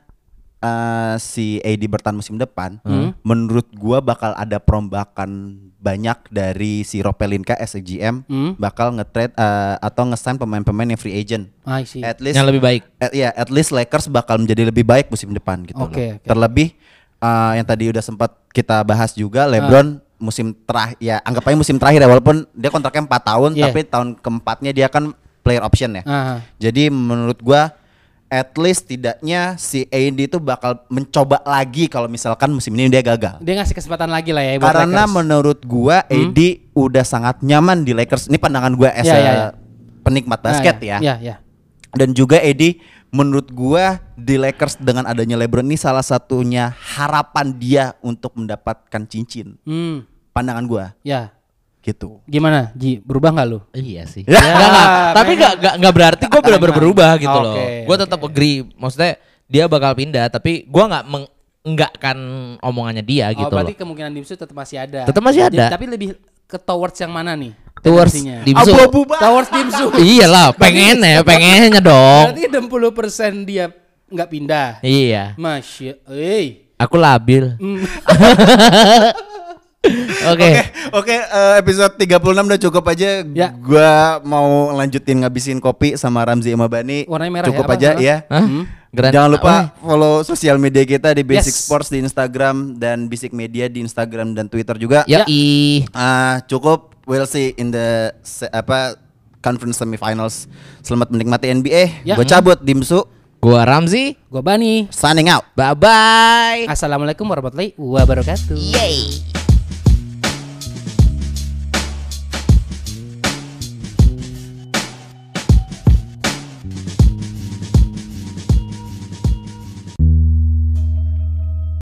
S2: eh, si AD bertahan musim depan, menurut gua bakal ada perombakan banyak dari si Ropelinka as a GM
S3: Hmm.
S2: bakal nge-trade eh, atau nge-sign pemain-pemain yang free agent.
S3: Ah, I see.
S2: At least
S1: Yang lebih baik.
S2: at, ya at least Lakers bakal menjadi lebih baik musim depan gitu loh.
S3: Oke, oke.
S2: Terlebih uh, yang tadi udah sempat kita bahas
S3: Ah.
S2: juga LeBron musim terakhir ya anggap aja musim terakhir ya walaupun dia kontraknya 4 tahun
S3: Iya.
S2: tapi tahun keempatnya dia kan player option ya.
S3: Ah,
S2: Jadi menurut gua at least tidaknya si AD itu bakal mencoba lagi kalau misalkan musim ini dia gagal.
S3: dia ngasih kesempatan lagi lah ya buat
S2: Karena
S3: Lakers. Hmm?
S2: menurut gua AD udah sangat nyaman di Lakers. Ini pandangan gua as
S3: Iya,
S2: a
S3: iya, iya.
S2: penikmat
S3: Ah,
S2: basket ya
S3: Iya, iya.
S2: dan juga Edi menurut gua di Lakers dengan adanya LeBron ini salah satunya harapan dia untuk mendapatkan cincin
S3: Hmm,
S2: pandangan gua
S3: ya.
S2: gitu
S3: Gimana, Ji? Berubah nggak lu?
S1: Iya sih.
S2: Ya,
S1: Nggak, nggak. Tapi nggak nggak nggak berarti gue benar-benar
S3: Memang.
S1: berubah gitu loh.
S3: Oke,
S1: Gue tetap agree. Maksudnya dia bakal pindah, tapi gue nggak meng- enggakkan omongannya dia gitu
S3: oh, berarti
S1: loh.
S3: kemungkinan Dimsu tetap masih ada.
S1: Tetap masih ada.
S3: Jadi, tapi lebih ke towards yang mana nih?
S1: Towards
S3: tendensinya?
S1: Dimsu.
S2: Abu-abu banget.
S3: towards Dimsu.
S1: Iya lah, pengen ya, pengennya dong.
S3: berarti 60% dia nggak pindah.
S1: Iya,
S3: Masya, eh.
S1: aku labil. Oke,
S2: Oke eh, episode 36 udah cukup aja
S3: Ya.
S2: gua mau lanjutin ngabisin kopi sama Ramzi Imabani
S3: Warnanya merah
S2: cukup
S3: ya, apa?
S2: aja
S3: Merah?
S2: ya
S1: Hah? Grand-
S2: Jangan lupa
S1: apa?
S2: follow sosial media kita di Basic
S3: Yes.
S2: Sports di Instagram dan Basic Media di Instagram dan Twitter juga.
S1: Ya, ih.
S2: Ah, cukup we'll see in the se- apa conference semifinals. Selamat menikmati NBA.
S3: Ya.
S2: Gue cabut Dimsu.
S1: Gua Ramzi.
S3: Gue Bani.
S2: Signing out.
S1: Bye bye.
S3: Assalamualaikum warahmatullahi wabarakatuh.
S1: Yay.